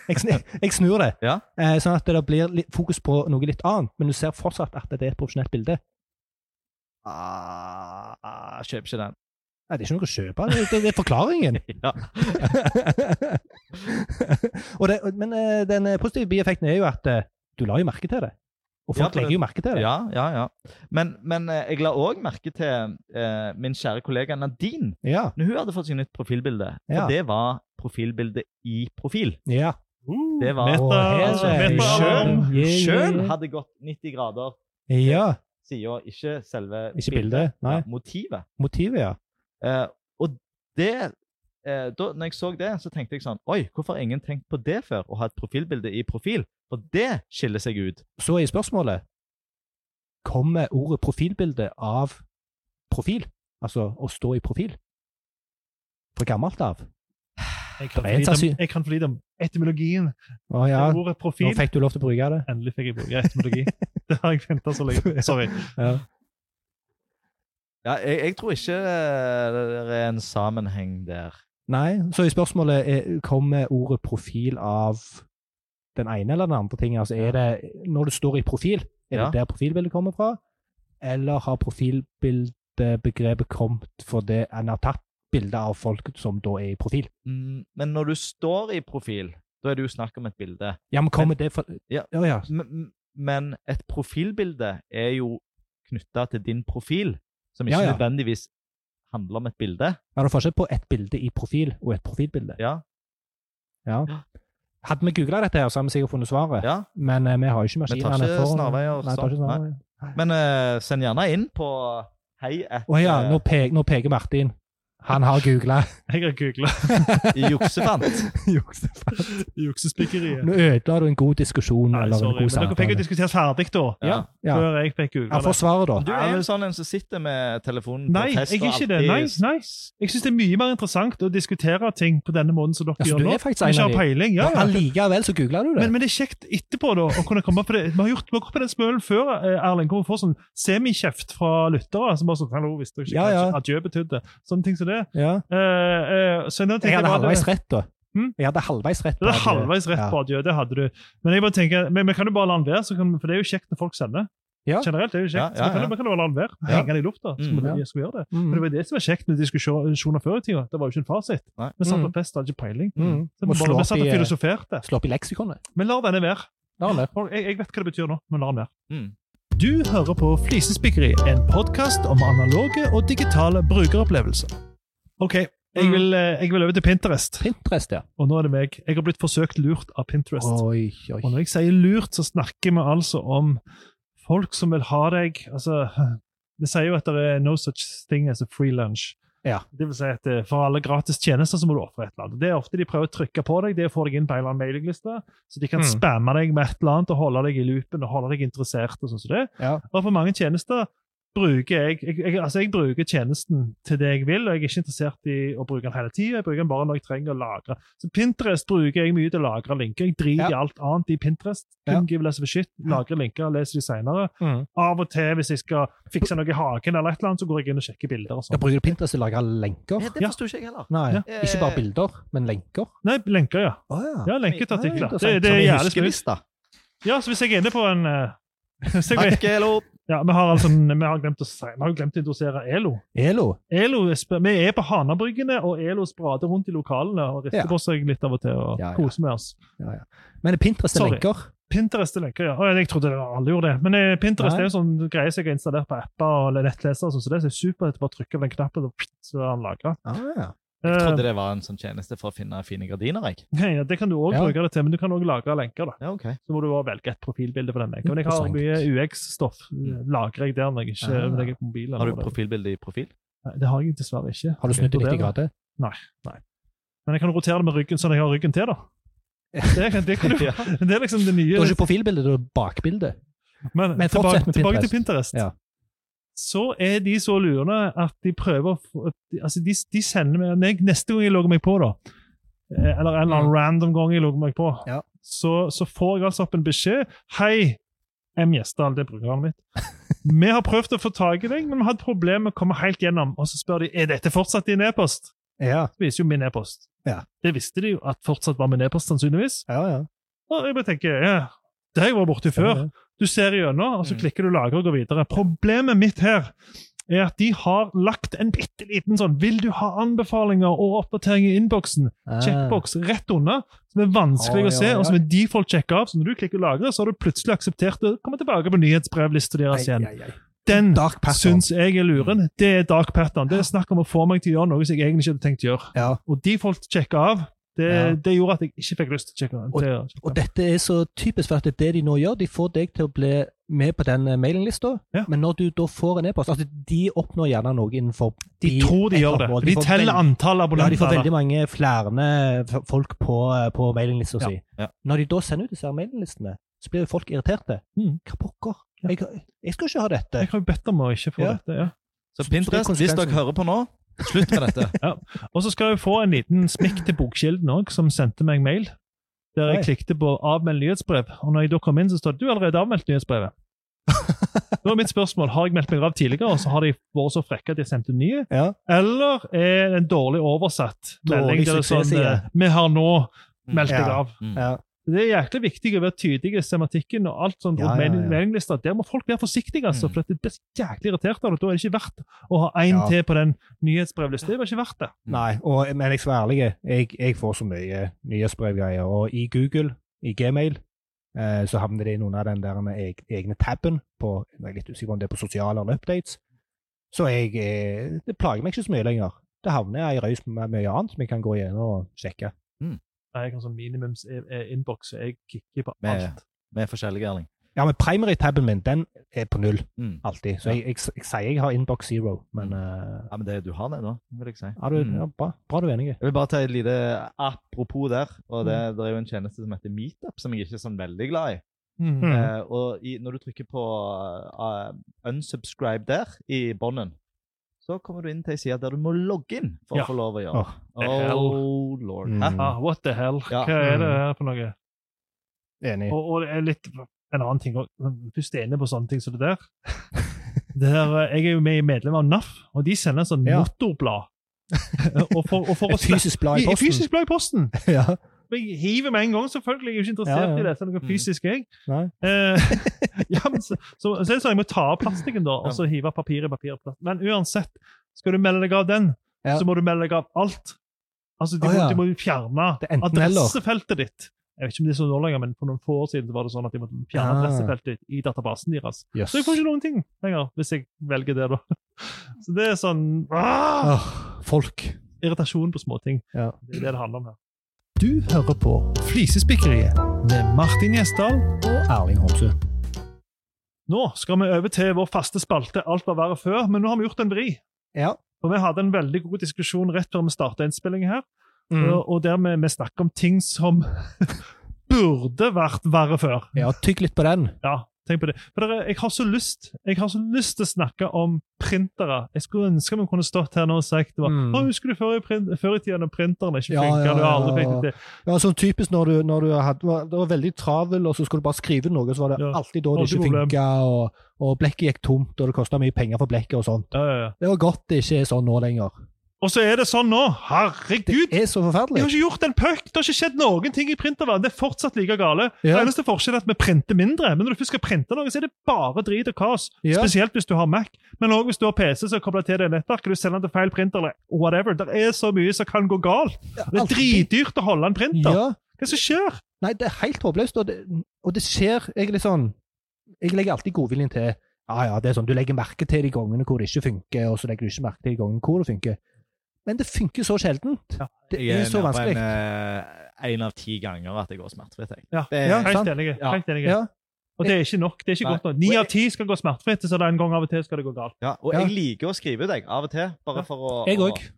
[SPEAKER 2] Jeg, sn- jeg snur det,
[SPEAKER 3] Ja.
[SPEAKER 2] eh, sånn at det blir litt fokus på noe litt annet, men du ser fortsatt at det er et profesjonelt bilde.
[SPEAKER 3] Ah, kjøp ikke den.
[SPEAKER 2] Nei, det er ikke noe å kjøpe. Det, det, det er forklaringen.
[SPEAKER 3] Ja.
[SPEAKER 2] og det, men eh, den positive bieffekten er jo at eh, du la jo merke til det. Og
[SPEAKER 3] Ja,
[SPEAKER 2] folk
[SPEAKER 3] for-
[SPEAKER 2] legger jo merke til det.
[SPEAKER 3] Ja, ja, ja. Men, men eh, jeg la òg merke til eh, min kjære kollega Nadine
[SPEAKER 2] Ja.
[SPEAKER 3] når hun hadde fått seg nytt profilbilde. For
[SPEAKER 2] Ja.
[SPEAKER 3] det var profilbildet i profil.
[SPEAKER 2] ja.
[SPEAKER 3] Det var
[SPEAKER 1] «Uh, Meta-
[SPEAKER 2] Og her er
[SPEAKER 1] meta-
[SPEAKER 2] skjønn.
[SPEAKER 1] alarm.
[SPEAKER 2] Yeah, yeah,
[SPEAKER 3] Sjøl
[SPEAKER 2] yeah.
[SPEAKER 3] hadde gått 90 grader
[SPEAKER 2] Ja,
[SPEAKER 3] sida, ikke selve
[SPEAKER 2] ikke bildet. Nei,
[SPEAKER 3] Ja, motivet.
[SPEAKER 2] motivet, ja.
[SPEAKER 3] Eh, og det eh, da når jeg så det, så tenkte jeg sånn Oi, hvorfor har ingen tenkt på det før? Å ha et profilbilde i profil? For det skiller seg ut.
[SPEAKER 2] Så er spørsmålet Kommer ordet profilbilde av profil? Altså å stå i profil? Fra gammelt av?
[SPEAKER 1] Jeg kan
[SPEAKER 2] Det er en
[SPEAKER 1] for lite om-
[SPEAKER 2] sannsyn-
[SPEAKER 1] jeg kan for lite om etymologien.
[SPEAKER 2] Å ja,
[SPEAKER 1] Ordet
[SPEAKER 2] nå
[SPEAKER 1] profil
[SPEAKER 2] fikk du lov til å bruke det.
[SPEAKER 1] Endelig fikk jeg bruke etymologi. Det har jeg venta så lenge. Sorry.
[SPEAKER 2] Ja.
[SPEAKER 3] Ja, jeg, jeg tror ikke eh, det er en sammenheng der.
[SPEAKER 2] Nei, så i spørsmålet er- kommer ordet profil av den ene eller den andre tingen? Altså er det, når du står i profil, er det
[SPEAKER 3] Ja.
[SPEAKER 2] der profilbildet kommer fra? Eller har profilbildebegrepet kommet fordi en har tatt bilder av folk som da er i profil?
[SPEAKER 3] Mm, men når du står i profil, da er det jo snakk om et bilde.
[SPEAKER 2] Ja, men kommer det fra
[SPEAKER 3] Ja.
[SPEAKER 2] ja. ja.
[SPEAKER 3] M- men et profilbilde er jo knytta til din profil, som ikke
[SPEAKER 2] Ja, ja.
[SPEAKER 3] nødvendigvis handler om et bilde.
[SPEAKER 2] Er det forskjell på et bilde i profil og et profilbilde?
[SPEAKER 3] Ja,
[SPEAKER 2] Ja. Hadde vi googla dette, her, så hadde vi sikkert funnet svaret.
[SPEAKER 3] ja.
[SPEAKER 2] Men eh, vi har jo ikke
[SPEAKER 3] Vi tar
[SPEAKER 2] maskinene
[SPEAKER 3] ikke
[SPEAKER 2] for
[SPEAKER 3] snarveier.
[SPEAKER 2] Nei, tar ikke
[SPEAKER 3] sånn. Nei.
[SPEAKER 2] snarveier.
[SPEAKER 3] Men eh, send gjerne inn på hei at
[SPEAKER 2] Å ja, nå, pe nå peker Martin. Han har googla.
[SPEAKER 1] Jeg har googla
[SPEAKER 3] eh, juksefant.
[SPEAKER 1] juksespikkeriet.
[SPEAKER 2] Nå ødela du en god diskusjon
[SPEAKER 1] Nei,
[SPEAKER 2] eller en
[SPEAKER 1] sorry.
[SPEAKER 2] god
[SPEAKER 1] Men dere fikk jo
[SPEAKER 2] samtale.
[SPEAKER 1] diskutert ferdig, da.
[SPEAKER 2] Ja, ja.
[SPEAKER 1] Før jeg fikk
[SPEAKER 2] Han
[SPEAKER 1] googla det.
[SPEAKER 2] får svaret, da.
[SPEAKER 3] Du er jo sånn en som sitter med telefonen
[SPEAKER 1] Nei,
[SPEAKER 3] på fest
[SPEAKER 1] jeg er
[SPEAKER 3] og
[SPEAKER 1] ikke det. Nei,
[SPEAKER 3] alltid-
[SPEAKER 1] nei. Jeg syns det er mye mer interessant å diskutere ting på denne måten som dere
[SPEAKER 2] Ja, så
[SPEAKER 1] gjør
[SPEAKER 2] du
[SPEAKER 1] nå.
[SPEAKER 2] er faktisk
[SPEAKER 1] Jeg
[SPEAKER 2] en
[SPEAKER 1] Ikke har
[SPEAKER 2] av de.
[SPEAKER 1] peiling. Ja, ja.
[SPEAKER 2] Allikevel så googla du det.
[SPEAKER 1] Men, men det er kjekt etterpå da, å kunne komme på det. Vi har gjort, vi har gått på den smølen før, eh, Erling, hvor vi får sånn semikjeft fra lyttere. som bare sånn, hallo, visste du ikke
[SPEAKER 2] Ja,
[SPEAKER 1] hva
[SPEAKER 2] ja.
[SPEAKER 1] adjø betydde? Sånne ting som det.
[SPEAKER 2] ja.
[SPEAKER 1] Eh, eh, så nå
[SPEAKER 2] Jeg
[SPEAKER 1] tenker
[SPEAKER 2] hadde
[SPEAKER 1] bare-
[SPEAKER 2] halvveis rett, da.
[SPEAKER 1] Hm?
[SPEAKER 2] Jeg hadde halvveis rett. eh, på
[SPEAKER 1] Det er
[SPEAKER 2] at-
[SPEAKER 1] halvveis rett
[SPEAKER 2] ja.
[SPEAKER 1] på adjø, det hadde du. Men jeg bare tenker, men vi kan jo bare la den være, så kan, vi- for det er jo kjekt når folk sender.
[SPEAKER 2] Ja.
[SPEAKER 1] Generelt er det jo kjekt.
[SPEAKER 3] Ja, ja,
[SPEAKER 1] Så kan
[SPEAKER 3] ja.
[SPEAKER 1] vi kan jo bare la den være.
[SPEAKER 3] Ja.
[SPEAKER 1] Henge den i lufta. så må
[SPEAKER 3] Mm.
[SPEAKER 1] vi-
[SPEAKER 2] Ja.
[SPEAKER 1] skal vi gjøre det. Men det
[SPEAKER 2] Mm.
[SPEAKER 1] var det som var kjekt med diskusjoner før i tida. Det var jo ikke en fasit.
[SPEAKER 3] Nei.
[SPEAKER 1] Vi satt på
[SPEAKER 2] Mm.
[SPEAKER 1] fest, hadde ikke peiling.
[SPEAKER 2] Mm.
[SPEAKER 1] Så vi
[SPEAKER 2] Må slå
[SPEAKER 1] bare, vi
[SPEAKER 2] opp
[SPEAKER 1] satt og
[SPEAKER 2] i-
[SPEAKER 1] filosoferte.
[SPEAKER 2] Slå opp i leksikonet.
[SPEAKER 1] Men la denne være.
[SPEAKER 2] La han det.
[SPEAKER 1] Og Jeg, jeg vet hva det betyr nå, men la den være.
[SPEAKER 3] Mm.
[SPEAKER 1] Du hører på Flisespikkeri, en podkast om analoge og digitale brukeropplevelser. OK, jeg
[SPEAKER 2] Mm.
[SPEAKER 1] vil, eh, jeg vil over til Pinterest.
[SPEAKER 2] Pinterest, ja.
[SPEAKER 1] Og nå er det meg. Jeg har blitt forsøkt lurt av Pinterest.
[SPEAKER 2] Oi, oi.
[SPEAKER 1] Og når jeg sier lurt, så snakker vi altså om folk som vil ha deg altså, Vi sier jo at det er no such thing as a free lunch.
[SPEAKER 2] Ja.
[SPEAKER 1] Det vil si at eh, For alle gratis tjenester så må du ofre et eller annet. Det er ofte de prøver å trykke på deg, det får deg inn på en eller annen mailingliste, så de kan
[SPEAKER 2] Mm.
[SPEAKER 1] spamme deg med et eller annet og holde deg i loopen og holde deg interessert. og sånn som det.
[SPEAKER 2] Ja.
[SPEAKER 1] Og for mange tjenester bruker jeg, jeg, jeg Altså, jeg bruker tjenesten til det jeg vil, og jeg er ikke interessert i å bruke den hele tida. Jeg bruker den bare når jeg trenger å lagre. Så Pinterest bruker jeg mye til å lagre linker. Jeg driter i alt annet i Pinterest.
[SPEAKER 2] Ja.
[SPEAKER 1] Kun give less of a shit. Lagre linker, leser de seinere.
[SPEAKER 2] Mm.
[SPEAKER 1] Av og til, hvis jeg skal fikse noe i hagen, eller et eller annet, så går jeg inn og sjekker bilder og
[SPEAKER 2] Jeg
[SPEAKER 1] sånn.
[SPEAKER 2] bruker Pinterest til å lage lenker.
[SPEAKER 3] Ja, det forsto ikke jeg heller.
[SPEAKER 2] Nei,
[SPEAKER 1] Ja.
[SPEAKER 2] ikke bare bilder, men lenker.
[SPEAKER 1] Nei, lenker, ja.
[SPEAKER 2] Å
[SPEAKER 1] Ja, lenker til artikler.
[SPEAKER 2] Ja,
[SPEAKER 1] Det,
[SPEAKER 2] interessant.
[SPEAKER 1] det er
[SPEAKER 3] Som i
[SPEAKER 1] jævlig smooth.
[SPEAKER 3] huskelista.
[SPEAKER 1] Ja, så hvis jeg er inne på en eh, hvis jeg,
[SPEAKER 3] Takk, Elo.
[SPEAKER 1] ja, Vi har altså, vi har glemt å, si, vi har jo glemt å introdusere ELO.
[SPEAKER 2] Elo.
[SPEAKER 1] Elo, er sp- vi er på Hanabryggene, og Elo sprader rundt i lokalene og rister
[SPEAKER 2] Ja.
[SPEAKER 1] på seg litt av og til og
[SPEAKER 2] Ja, ja.
[SPEAKER 1] koser med oss.
[SPEAKER 2] Men Pinterest er
[SPEAKER 1] Sorry.
[SPEAKER 2] lenker.
[SPEAKER 1] Pinterest er lenker, ja. Å, Jeg trodde det var alle gjorde det. Men eh, Pinterest
[SPEAKER 2] Nei.
[SPEAKER 1] er jo sånn greie som jeg har installert på apper og nettleser, og sånn, så det er supert å bare trykke på den knappen, og pst, så er den lagra.
[SPEAKER 2] Ah, ja.
[SPEAKER 3] Jeg trodde det var en sånn tjeneste for å finne fine gardiner. jeg.
[SPEAKER 1] ja, det kan du òg
[SPEAKER 2] Ja.
[SPEAKER 1] bruke det til, men du kan òg lagre lenker. da.
[SPEAKER 3] Ja, ok.
[SPEAKER 1] Så må du bare velge et profilbilde for den lenka. Men jeg har mye
[SPEAKER 2] Interessant. Mm.
[SPEAKER 1] UX-stoff. eh, Lagrer jeg der når jeg ikke
[SPEAKER 2] Ah.
[SPEAKER 1] når jeg er på mobilen?
[SPEAKER 3] Har du
[SPEAKER 1] eller-
[SPEAKER 3] profilbilde i profil?
[SPEAKER 1] Nei, Det har jeg dessverre ikke.
[SPEAKER 2] Har du snudd i 90 grader?
[SPEAKER 1] Men jeg kan rotere det med ryggen sånn at jeg har ryggen til, da. Det, kan- det, kan du,
[SPEAKER 3] Ja.
[SPEAKER 1] det er liksom det nye.
[SPEAKER 2] Det var ikke profilbilde, det var bakbilde.
[SPEAKER 1] Men,
[SPEAKER 2] Men
[SPEAKER 1] tilbake,
[SPEAKER 2] fortsett med
[SPEAKER 1] tilbake til Pinterest.
[SPEAKER 2] Pinterest. Ja.
[SPEAKER 1] Så er de så lurende at de prøver å få- at de- Altså, de, de sender meg når jeg, Neste gang jeg logger meg på, da, eh, eller en eller annen random gang jeg logger meg på,
[SPEAKER 2] Mm. Ja.
[SPEAKER 1] så, så får jeg altså opp en beskjed Hei, M. Gjesdal, det er brukeren mitt. Vi har prøvd å få tak i deg, men vi har hatt problemer med å komme helt gjennom. Og så spør de er dette fortsatt din e-post.
[SPEAKER 2] Ja,
[SPEAKER 1] Det viser jo min e-post.
[SPEAKER 2] Ja.
[SPEAKER 1] Det visste de jo at fortsatt var min e-post, sannsynligvis.
[SPEAKER 2] ja, ja.
[SPEAKER 1] Og jeg bare tenker ja, Det har jeg vært borti før. Du ser gjennom, og så
[SPEAKER 3] Mm.
[SPEAKER 1] klikker du lager og går videre. Problemet mitt her er at de har lagt en bitte liten sånn 'Vil du ha anbefalinger og oppdateringer i innboksen?' checkbox rett under, som er vanskelig
[SPEAKER 2] Ah. Oi,
[SPEAKER 1] å se,
[SPEAKER 2] oi,
[SPEAKER 1] og som
[SPEAKER 2] oi.
[SPEAKER 1] er default sjekka av. Så når du klikker 'lagre', så har du plutselig akseptert det. Kommer tilbake på nyhetsbrevlista deres
[SPEAKER 2] Ai,
[SPEAKER 1] igjen.
[SPEAKER 2] ai, ai.
[SPEAKER 1] Den
[SPEAKER 2] Dark pattern. Mm.
[SPEAKER 1] syns jeg er luren. Det er dark pattern. Det er snakk om å få meg til å gjøre noe som jeg egentlig ikke hadde tenkt å gjøre.
[SPEAKER 2] Ja.
[SPEAKER 1] Og default sjekka av, det,
[SPEAKER 2] Ja.
[SPEAKER 1] det gjorde at jeg ikke fikk lyst til å sjekke. til å sjekke.
[SPEAKER 2] Og dette er så typisk, for at det de nå gjør, de får deg til å bli med på den eh, mailinglista,
[SPEAKER 1] Ja.
[SPEAKER 2] men når du da får en e-post altså De oppnår gjerne noe innenfor
[SPEAKER 1] de tror de gjør det.
[SPEAKER 2] mål.
[SPEAKER 1] De
[SPEAKER 2] får
[SPEAKER 1] teller
[SPEAKER 2] veld-
[SPEAKER 1] antall
[SPEAKER 2] Ja, de får
[SPEAKER 1] abonnenter.
[SPEAKER 2] veldig mange flere f- folk på, eh, på mailinglista si.
[SPEAKER 3] Ja, ja.
[SPEAKER 2] Når de da sender ut disse her mailinglistene, så blir jo folk irriterte.
[SPEAKER 1] Mm.
[SPEAKER 2] Hva pokker?
[SPEAKER 1] Ja.
[SPEAKER 2] Jeg, jeg skal ikke ha dette.
[SPEAKER 1] jeg har jo bedt om å ikke få
[SPEAKER 2] Ja.
[SPEAKER 1] dette. ja.
[SPEAKER 3] Så
[SPEAKER 2] Så- så det er
[SPEAKER 3] Pinterest, hvis dere
[SPEAKER 2] konsekvensen.
[SPEAKER 3] hører på nå, slutt med dette.
[SPEAKER 1] Og så skal jeg få en liten smekk til Bokkilden òg, som sendte meg mail. Der jeg
[SPEAKER 2] Oi.
[SPEAKER 1] klikket på 'avmeld nyhetsbrev', og når jeg da kom inn, så står det 'du har allerede avmeldt nyhetsbrevet'. Da er mitt spørsmål har jeg meldt meg av tidligere, og så har de vært så frekke at de sendte nye,
[SPEAKER 2] Ja.
[SPEAKER 1] eller er det en dårlig oversatt melding der
[SPEAKER 2] Dårlig
[SPEAKER 1] det er sånn
[SPEAKER 2] suksessside.
[SPEAKER 1] eh, 'vi har nå
[SPEAKER 3] Mm.
[SPEAKER 1] meldt deg
[SPEAKER 2] Ja.
[SPEAKER 1] av'?
[SPEAKER 2] Ja.
[SPEAKER 1] Det er jæklig viktig å være tydelig i sematikken og alt sånn
[SPEAKER 2] Ja,
[SPEAKER 1] rundt
[SPEAKER 2] ja, ja.
[SPEAKER 1] melding- meldinglister. Der må folk være forsiktige, altså,
[SPEAKER 3] Mm.
[SPEAKER 1] for det blir jæklig irritert av det. Da er det ikke verdt å ha én
[SPEAKER 2] Ja.
[SPEAKER 1] til på den nyhetsbrevlista. Det var ikke verdt det.
[SPEAKER 3] Mm.
[SPEAKER 2] Nei, og, eh, men jeg skal være ærlig. Jeg, jeg får så mye nyhetsbrevgreier. Og i Google, i Gmail, eh, så havner det i noen av den der med eg, egne tabben på Jeg er litt usikker på om det er på sosiale eller updates. Så jeg, eh, det plager meg ikke så mye lenger. Det havner jeg i røys med mye annet som jeg kan gå igjennom og sjekke.
[SPEAKER 1] Nei, jeg har sånn minimums-innboks, så jeg kikker på
[SPEAKER 3] Med-
[SPEAKER 1] alt.
[SPEAKER 3] Med forskjellige, Erling.
[SPEAKER 2] Ja, men primary-tabben min, den er på null,
[SPEAKER 3] Mm.
[SPEAKER 2] alltid. Så jeg, jeg, jeg, sier jeg har inbox zero, men eh,
[SPEAKER 3] Ja, men det, du har det, da, vil jeg si.
[SPEAKER 2] ja, du,
[SPEAKER 3] Mm.
[SPEAKER 2] ja, bra, bra du er enig.
[SPEAKER 3] Jeg vil bare ta et lite apropos der. og Det,
[SPEAKER 2] Mm.
[SPEAKER 3] det er jo en tjeneste som heter Meetup, som jeg ikke er sånn veldig glad i.
[SPEAKER 1] Mm.
[SPEAKER 3] Eh, og i, når du trykker på eh, unsubscribe der, i bånden, så kommer du inn til ei side der du må logge inn for
[SPEAKER 1] Ja.
[SPEAKER 3] å få lov å gjøre
[SPEAKER 2] Åh.
[SPEAKER 3] Oh, lord. Hæ?
[SPEAKER 2] Mm.
[SPEAKER 1] Ah, what the hell?
[SPEAKER 3] Ja.
[SPEAKER 1] Hva er det
[SPEAKER 2] Mm.
[SPEAKER 1] her for noe?
[SPEAKER 2] Enig.
[SPEAKER 1] Og, og det er litt en annen ting òg. Først er jeg inne på sånne ting som det der. Det her, eh, jeg er jo med, medlem av NAF, og de sender en sånn
[SPEAKER 2] Ja.
[SPEAKER 1] motorblad. og for, og for å
[SPEAKER 2] Et fysisk blad i
[SPEAKER 1] I- i
[SPEAKER 2] posten.
[SPEAKER 1] Fysisk blad i posten!
[SPEAKER 2] ja.
[SPEAKER 1] Jeg hiver med en gang, selvfølgelig. Jeg er jo ikke interessert
[SPEAKER 2] Ja, ja.
[SPEAKER 1] i det. så det er noe
[SPEAKER 3] Mm.
[SPEAKER 1] fysisk, jeg.
[SPEAKER 2] Nei.
[SPEAKER 1] Eh, ja, men så, så, så er det sånn, jeg må ta av plastikken da, og så hive papir i papir. og plast. Men uansett, skal du melde deg av den,
[SPEAKER 2] Ja.
[SPEAKER 1] så må du melde deg av alt. Altså, De,
[SPEAKER 2] Å,
[SPEAKER 1] må,
[SPEAKER 2] ja.
[SPEAKER 1] de må jo fjerne
[SPEAKER 2] Det er enten eller.
[SPEAKER 1] adressefeltet ditt. Jeg vet ikke om det er så nå lenger, men For noen få år siden så var det sånn at de måtte fjerne
[SPEAKER 2] Ah.
[SPEAKER 1] adressefeltet ditt i databasen deres.
[SPEAKER 2] Jøss.
[SPEAKER 1] Så jeg får ikke noen ting lenger, hvis jeg velger det, da. Så det er sånn ah,
[SPEAKER 2] Åh, folk.
[SPEAKER 1] Irritasjon på småting.
[SPEAKER 2] Ja.
[SPEAKER 1] Det er det det handler om her. Du hører på Flisespikkeriet med Martin Gjesdal
[SPEAKER 2] Erling Homsø.
[SPEAKER 1] Nå skal vi over til vår faste spalte Alt var verre før, men nå har vi gjort en vri.
[SPEAKER 2] Ja.
[SPEAKER 1] For vi hadde en veldig god diskusjon rett før vi starta innspillingen her, og,
[SPEAKER 2] Mm.
[SPEAKER 1] og der vi, vi snakker om ting som burde vært verre før.
[SPEAKER 2] Ja, tygg litt på den.
[SPEAKER 1] Ja, tenk på det. For dere, jeg har så lyst Jeg har så lyst til å snakke om printere. Jeg skulle ønske vi kunne stått her nå og sagt det var,
[SPEAKER 2] Mm.
[SPEAKER 1] «Å, Husker du før i, print, før i tida når printerne ikke
[SPEAKER 2] Ja,
[SPEAKER 1] funka?
[SPEAKER 2] ja,
[SPEAKER 1] du har aldri
[SPEAKER 2] ja,
[SPEAKER 1] fikk
[SPEAKER 2] ja.
[SPEAKER 1] det til.
[SPEAKER 2] Ja, sånn typisk når du, når du hadde, var, det var veldig travel, og så skulle du bare skrive noe, så var det
[SPEAKER 1] Ja.
[SPEAKER 2] alltid da det
[SPEAKER 1] Alltid
[SPEAKER 2] ikke
[SPEAKER 1] problem.
[SPEAKER 2] funka, og, og blekket gikk tomt, og det kosta mye penger for blekket og sånn.
[SPEAKER 1] Ja, ja, ja.
[SPEAKER 2] Det var godt det ikke er sånn nå lenger.
[SPEAKER 1] Og så er det sånn nå!
[SPEAKER 2] Det
[SPEAKER 1] Herregud!
[SPEAKER 2] er så
[SPEAKER 1] Jeg har
[SPEAKER 2] forferdelig.
[SPEAKER 1] ikke gjort en puck! Det har ikke skjedd noen ting i printerverdenen. Det er fortsatt like gale. Det
[SPEAKER 2] Ja.
[SPEAKER 1] eneste forskjellen er at vi printer mindre. Men når du først skal printe noe, så er det bare drit og kaos.
[SPEAKER 2] Ja.
[SPEAKER 1] Spesielt hvis du har Mac. Men òg hvis du har PC som kobler til det nettverket. Du sender den til feil printer eller whatever. Det er så mye som kan gå galt. Det er
[SPEAKER 2] Alltid.
[SPEAKER 1] dritdyrt å holde en printer.
[SPEAKER 2] Ja.
[SPEAKER 1] Hva er det som skjer?
[SPEAKER 2] Nei, det er helt håpløst, og det, og det skjer Jeg er litt sånn Jeg legger alltid godviljen til Ja, ja, det er sånn, du legger merke til de gangene hvor det ikke funker, og så legger du ikke merke til de gangene hvor det funker. Men det funker så sjeldent.
[SPEAKER 1] Ja.
[SPEAKER 2] Det
[SPEAKER 3] Jeg
[SPEAKER 2] er så
[SPEAKER 3] nede på
[SPEAKER 2] vanskelig.
[SPEAKER 3] En, eh, en av ti ganger at det går smertefritt. jeg.
[SPEAKER 1] Ja,
[SPEAKER 3] Det er-
[SPEAKER 2] Ja, sant.
[SPEAKER 1] helt enig.
[SPEAKER 3] Ja.
[SPEAKER 1] Helt enig.
[SPEAKER 2] Ja.
[SPEAKER 1] Og det er ikke nok. det er ikke
[SPEAKER 3] Nei.
[SPEAKER 1] godt nok. Ni av ti skal gå smertefritt, så det er en gang av og til skal det gå galt.
[SPEAKER 3] Ja, og
[SPEAKER 2] Ja.
[SPEAKER 3] jeg liker å skrive deg av og til, bare
[SPEAKER 1] Ja.
[SPEAKER 3] for å
[SPEAKER 2] Jeg
[SPEAKER 3] å-
[SPEAKER 2] òg.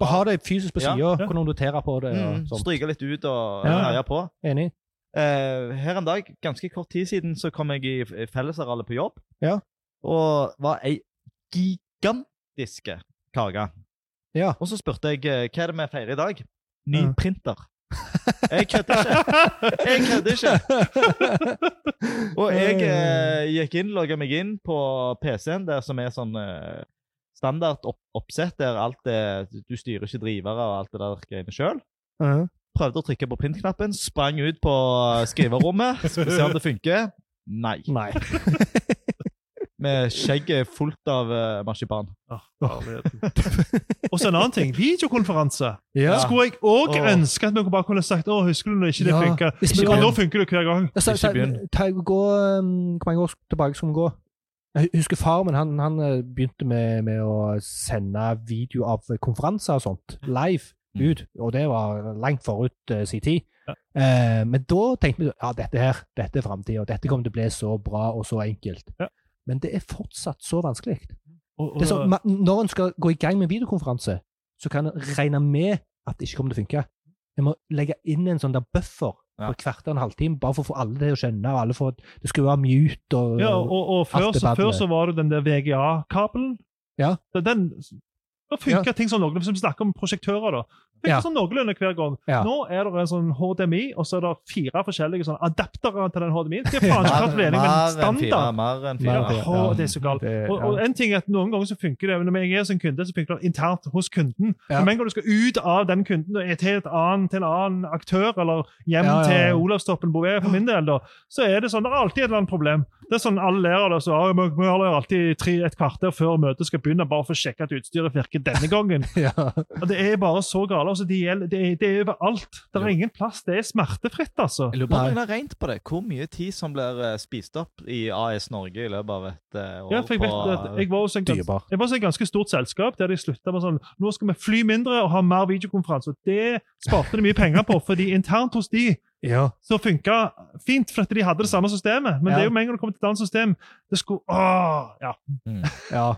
[SPEAKER 2] Bare ha det fysisk på
[SPEAKER 3] Ja,
[SPEAKER 2] sida,
[SPEAKER 1] ja.
[SPEAKER 2] kunne notere på det.
[SPEAKER 3] Mm,
[SPEAKER 2] og sånt.
[SPEAKER 3] stryke litt ut og
[SPEAKER 2] sånn. Ja.
[SPEAKER 3] herje på.
[SPEAKER 2] Enig.
[SPEAKER 3] Eh, her en dag, ganske kort tid siden, så kom jeg i f- fellesarealet på jobb.
[SPEAKER 2] Ja.
[SPEAKER 3] Og var ei gigantiske kake.
[SPEAKER 2] Ja.
[SPEAKER 3] Og så spurte jeg eh, hva er det vi feirer i dag. Ny
[SPEAKER 2] Ja.
[SPEAKER 3] printer. Jeg kødder ikke! Jeg kødder ikke! Og jeg eh, gikk inn, logga meg inn på PC-en, der som er sånn eh, standard opp oppsett, der alt er Du styrer ikke drivere og alt det der greiene sjøl.
[SPEAKER 2] Ja.
[SPEAKER 3] Prøvde å trykke på print-knappen, sprang ut på skriverommet, skulle se om det funker. Nei.
[SPEAKER 2] Nei.
[SPEAKER 3] med skjegget fullt av eh, marsipan.
[SPEAKER 1] Ah, herligheten. og så en annen ting. Videokonferanse.
[SPEAKER 2] Ja.
[SPEAKER 1] Skulle jeg òg
[SPEAKER 3] Åh.
[SPEAKER 1] ønske at vi bare kunne sagt å, husker du når ikke det
[SPEAKER 2] Ja.
[SPEAKER 1] funka?
[SPEAKER 2] Hvis vi
[SPEAKER 1] Ikke-
[SPEAKER 2] kan-
[SPEAKER 1] Nå funker det hver gang.
[SPEAKER 2] Ja, så-
[SPEAKER 3] Ikke
[SPEAKER 2] så-
[SPEAKER 3] begynn.
[SPEAKER 2] ta- gå, um, Hvor mange år tilbake skal vi gå? Jeg husker far min han, han eh, begynte med, med å sende video av konferanser og sånt live
[SPEAKER 3] Mm.
[SPEAKER 2] ut, og det var langt forut eh, sin tid.
[SPEAKER 1] Ja.
[SPEAKER 2] Eh, men da tenkte vi ja, dette her, dette er framtida, dette kommer til å bli så bra og så enkelt.
[SPEAKER 1] Ja.
[SPEAKER 2] Men det er fortsatt så vanskelig.
[SPEAKER 1] Og, og,
[SPEAKER 2] Det er så, ma- når en skal gå i gang med en videokonferanse, så kan en regne med at det ikke kommer til å funke. En må legge inn en sånn der buffer
[SPEAKER 3] Ja.
[SPEAKER 2] på hvert en halvtime, bare for å få alle til å skjønne. og alle får, Det skulle være mute og
[SPEAKER 1] ja, og, og før,
[SPEAKER 2] Alt er
[SPEAKER 1] så,
[SPEAKER 2] bad
[SPEAKER 1] før
[SPEAKER 2] med.
[SPEAKER 1] så var det den der VGA-kabelen.
[SPEAKER 2] Ja.
[SPEAKER 1] Da- Den, da funka ting sånn noenlunde. Hvis vi snakker om prosjektører, da. Funker
[SPEAKER 2] Ja.
[SPEAKER 1] sånn noenlunde hver gang.
[SPEAKER 2] Ja.
[SPEAKER 1] Nå er det en sånn HDMI, og så er det fire forskjellige sånne adaptere til den HDMI-en. Det er faen ikke tatt mening med en
[SPEAKER 3] fire.
[SPEAKER 1] standard.
[SPEAKER 3] Mer
[SPEAKER 2] Mer
[SPEAKER 3] enn fire.
[SPEAKER 2] enn fire.
[SPEAKER 1] Åh, det er så galt.
[SPEAKER 2] Det-
[SPEAKER 1] Og, og en ting er at Noen ganger så funker det når jeg er som kunde, så funker det internt hos kunden.
[SPEAKER 2] Ja.
[SPEAKER 1] Men Men når du skal ut av den kunden og er til, et annen, til en annen aktør, eller hjem
[SPEAKER 2] Ja, ja, ja.
[SPEAKER 1] til Olavstoppen Bouvet, for min del, da, så er det sånn, det er alltid et eller annet problem. Det er sånn Alle lærer det. så ah, Vi vi holder alltid tre, et kvarter før møtet skal begynne, bare for å sjekke at utstyret virker denne gangen.
[SPEAKER 2] ja.
[SPEAKER 1] Og Det er bare så gale. Altså, det, gjelder, det, er, det er overalt. Det er ingen plass. Det er smertefritt, altså.
[SPEAKER 3] Jeg lurer på om
[SPEAKER 2] Nei.
[SPEAKER 3] det er rent på det. Hvor mye tid som blir eh, spist opp i AS Norge i løpet av et eh, år?
[SPEAKER 1] Ja, for jeg vet
[SPEAKER 3] på-
[SPEAKER 1] at jeg var hos en ganske
[SPEAKER 2] Dyrebar.
[SPEAKER 1] Det var så et ganske stort selskap der de slutta med sånn Nå skal vi fly mindre og ha mer videokonferanse. Og det sparte de mye penger på, fordi internt hos de
[SPEAKER 2] Ja.
[SPEAKER 1] så funka fint, for at de hadde det samme systemet. Men det er jo med en gang det kommer til et annet system Det skulle åh, ja,
[SPEAKER 2] ja.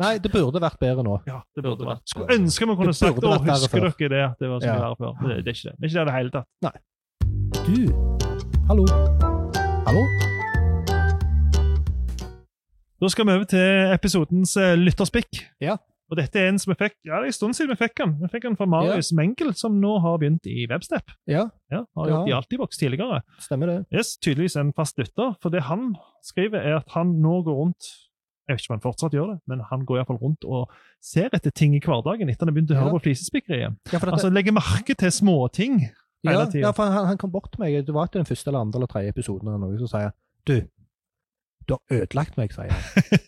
[SPEAKER 2] Nei, det burde vært bedre nå.
[SPEAKER 1] ja, det
[SPEAKER 3] Burde
[SPEAKER 1] burde
[SPEAKER 3] vært
[SPEAKER 1] vært. Skulle ønske vi kunne
[SPEAKER 2] Det
[SPEAKER 1] sagt
[SPEAKER 2] burde
[SPEAKER 1] å,
[SPEAKER 2] vært verre
[SPEAKER 1] husker dere
[SPEAKER 2] før.»
[SPEAKER 1] det? at Det var sånn
[SPEAKER 2] Ja.
[SPEAKER 1] det var før. Det, det er ikke det. Det er ikke det i det hele tatt.
[SPEAKER 2] Du, hallo. Hallo?
[SPEAKER 1] Da skal vi over til episodens eh, lytterspikk.
[SPEAKER 2] Ja.
[SPEAKER 1] Og dette er en som vi fikk ja, det er en stund siden vi fikk den. Vi fikk den fra Marius Mengel, som nå har begynt i Webstep.
[SPEAKER 2] Ja,
[SPEAKER 1] Ja, har
[SPEAKER 2] Ja.
[SPEAKER 1] gjort i Altibox tidligere.
[SPEAKER 2] stemmer det.
[SPEAKER 1] Yes, tydeligvis en fast lytter, for det han skriver er at han nå går rundt jeg vet ikke om han fortsatt gjør det, men han går i hvert fall rundt og ser etter ting i hverdagen etter han har begynt å
[SPEAKER 2] Ja.
[SPEAKER 1] høre på flisespikkeriet.
[SPEAKER 2] Ja, for, dette,
[SPEAKER 1] Altså legger merke til småting. hele
[SPEAKER 2] ja,
[SPEAKER 1] tiden.
[SPEAKER 2] ja, for han, han kom bort til meg. Det var etter den første eller andre eller tredje episoden eller noe, så sier jeg Du, du har ødelagt meg, sier jeg.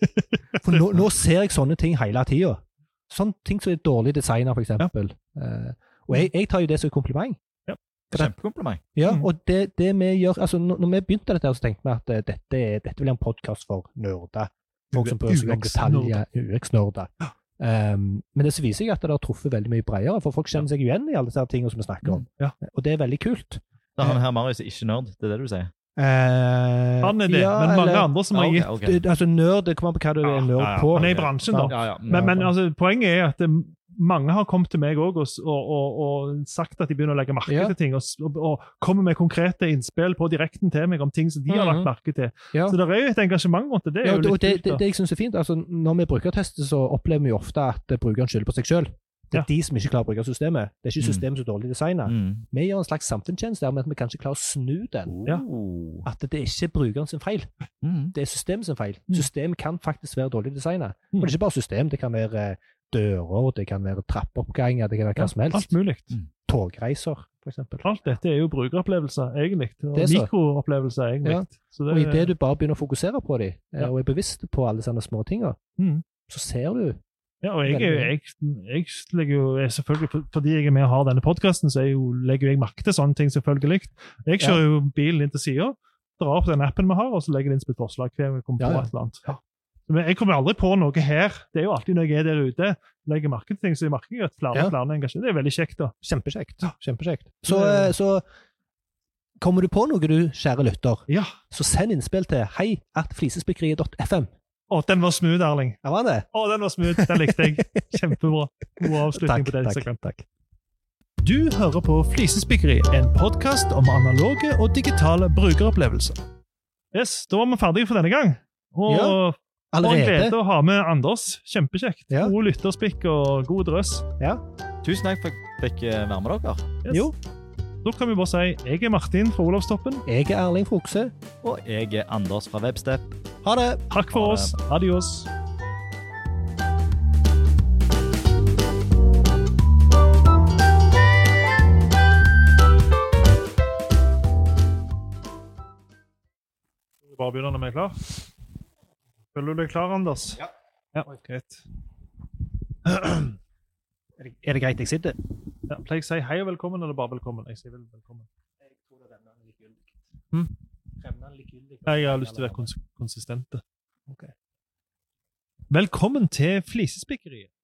[SPEAKER 2] For nå, nå ser jeg sånne ting hele tida. Sånne ting som er dårlig designa, for eksempel. Eh, og jeg, jeg tar jo det som et kompliment.
[SPEAKER 3] Kjempekompliment.
[SPEAKER 2] Ja,
[SPEAKER 1] Mm.
[SPEAKER 2] og det, det vi gjør, altså når, når vi begynte dette, her, så tenkte vi at eh, dette, er- dette blir en podkast for nerder. Folk som bryr seg om detaljer. UX-nerder. Um, men det så viser jeg at det har truffet veldig mye bredere, for folk kjenner seg igjen i alle disse her tingene som vi snakker om.
[SPEAKER 1] Ja.
[SPEAKER 2] Og det er veldig kult.
[SPEAKER 3] Da han her Marius er ikke nerd, det er det du sier?
[SPEAKER 2] Eh,
[SPEAKER 1] Han er det,
[SPEAKER 2] ja,
[SPEAKER 1] men mange
[SPEAKER 2] eller-
[SPEAKER 1] andre som
[SPEAKER 3] Ja,
[SPEAKER 1] har
[SPEAKER 3] ok,
[SPEAKER 1] gitt
[SPEAKER 3] ok.
[SPEAKER 2] Det- Altså, nerd det kommer an på hva du er nerd
[SPEAKER 1] ja, ja.
[SPEAKER 2] på.
[SPEAKER 1] Han er i bransjen, da.
[SPEAKER 3] Ja, ja.
[SPEAKER 1] Men, men altså, poenget er at det, mange har kommet til meg òg og, s- og, og, og sagt at de begynner å legge merke
[SPEAKER 2] Ja.
[SPEAKER 1] til ting, og, s- og, og kommer med konkrete innspill på direkten til meg om ting som de har lagt
[SPEAKER 2] Mhm.
[SPEAKER 1] merke til.
[SPEAKER 2] Ja.
[SPEAKER 1] Så det er jo et engasjement rundt det. Det er
[SPEAKER 2] Ja,
[SPEAKER 1] jo
[SPEAKER 2] og det, og
[SPEAKER 1] litt
[SPEAKER 2] det,
[SPEAKER 1] kult.
[SPEAKER 2] det,
[SPEAKER 1] da.
[SPEAKER 2] det jeg synes er fint, altså Når vi brukertester, så opplever vi jo ofte at eh, brukeren skylder på seg selv. Det er
[SPEAKER 1] Ja.
[SPEAKER 2] de som ikke klarer å bruke systemet. Det er
[SPEAKER 3] Mm.
[SPEAKER 2] ikke systemet som er dårlig designet.
[SPEAKER 3] Mm.
[SPEAKER 2] Vi gjør en slags samfunnstjeneste der med at vi kanskje klarer å snu den.
[SPEAKER 1] Ja.
[SPEAKER 3] Oh.
[SPEAKER 2] At det ikke er brukeren sin feil,
[SPEAKER 3] Mm.
[SPEAKER 2] det er systemet sin feil.
[SPEAKER 1] Mm.
[SPEAKER 2] Systemet kan faktisk være dårlig designet.
[SPEAKER 1] Mm.
[SPEAKER 2] Og det er ikke bare system, det kan være eh, dører, det kan være trappeoppganger, det kan være hva som
[SPEAKER 1] Alt
[SPEAKER 2] helst.
[SPEAKER 1] mulig.
[SPEAKER 2] Togreiser, for eksempel.
[SPEAKER 1] Alt dette er jo brukeropplevelser, egentlig. Og
[SPEAKER 2] Det er så.
[SPEAKER 1] Mikroopplevelser, egentlig.
[SPEAKER 2] Ja.
[SPEAKER 1] Så det,
[SPEAKER 2] Og idet du bare begynner å fokusere på dem,
[SPEAKER 1] Ja.
[SPEAKER 2] og er bevisst på alle sånne små tinga,
[SPEAKER 1] Mm.
[SPEAKER 2] så ser du
[SPEAKER 1] ja, og jeg, er jo- jeg, jeg legger jo jeg selvfølgelig, for- Fordi jeg er med og har denne podkasten, så er jo, legger jo jeg merke til sånne ting, selvfølgelig. Jeg kjører jo bilen inn til sida, drar opp den appen vi har, og så legger jeg det inn som et forslag hver gang jeg kommer
[SPEAKER 2] Ja,
[SPEAKER 1] på
[SPEAKER 2] ja.
[SPEAKER 1] et eller annet.
[SPEAKER 2] Ja.
[SPEAKER 1] Men jeg kommer aldri på noe her. Det er jo alltid når jeg er der ute, legger merke til ting, så jeg merker jo at flere
[SPEAKER 2] Ja.
[SPEAKER 1] og flere engasjerer Det er veldig kjekt, da.
[SPEAKER 2] Kjempekjekt. Kjempekjekt. Så,
[SPEAKER 1] Det-
[SPEAKER 2] eh, så kommer du på noe, du kjære lytter,
[SPEAKER 1] Ja.
[SPEAKER 2] så send innspill til hei at flisespikkeriet.fm.
[SPEAKER 1] Å, den var smooth, Erling.
[SPEAKER 2] Ja, var det?
[SPEAKER 1] Å, den var smooth. Den likte jeg. Kjempebra. God avslutning
[SPEAKER 2] Takk,
[SPEAKER 1] på det
[SPEAKER 2] takk,
[SPEAKER 1] segmentet.
[SPEAKER 2] takk.
[SPEAKER 1] Du hører på Flisespikkeri, en podkast om analoge og digitale brukeropplevelser. Yes, Da var vi ferdige for denne gang. Og
[SPEAKER 2] Ja,
[SPEAKER 1] for en glede
[SPEAKER 2] Allerede?
[SPEAKER 1] å ha med Anders. Kjempekjekt.
[SPEAKER 2] Ja.
[SPEAKER 1] God lytterspikk og god drøss.
[SPEAKER 3] Tusen takk for at jeg fikk eh, være med dere.
[SPEAKER 1] Yes.
[SPEAKER 2] Jo.
[SPEAKER 1] Da kan vi bare si jeg er Martin fra Olavstoppen.
[SPEAKER 2] Jeg er Erling Frokse.
[SPEAKER 3] Og jeg er Anders fra Webstep.
[SPEAKER 2] Ha det!
[SPEAKER 1] Takk
[SPEAKER 3] Ha
[SPEAKER 1] for
[SPEAKER 3] det.
[SPEAKER 1] oss. Adios. Bare begynner når vi er klar. Føler du deg klar, Anders?
[SPEAKER 3] Ja.
[SPEAKER 1] Ja, greit.
[SPEAKER 2] Er det, er det greit jeg sitter?
[SPEAKER 1] Ja, pleier jeg å si hei og velkommen, eller bare velkommen? Jeg sier vel velkommen.
[SPEAKER 2] Jeg tror det renner likegyldig.
[SPEAKER 1] Hm?
[SPEAKER 2] Renner likegyldig.
[SPEAKER 1] Nei, jeg har lyst til å være kons konsistente.
[SPEAKER 2] Ok.
[SPEAKER 1] Velkommen til Flisespikkeriet.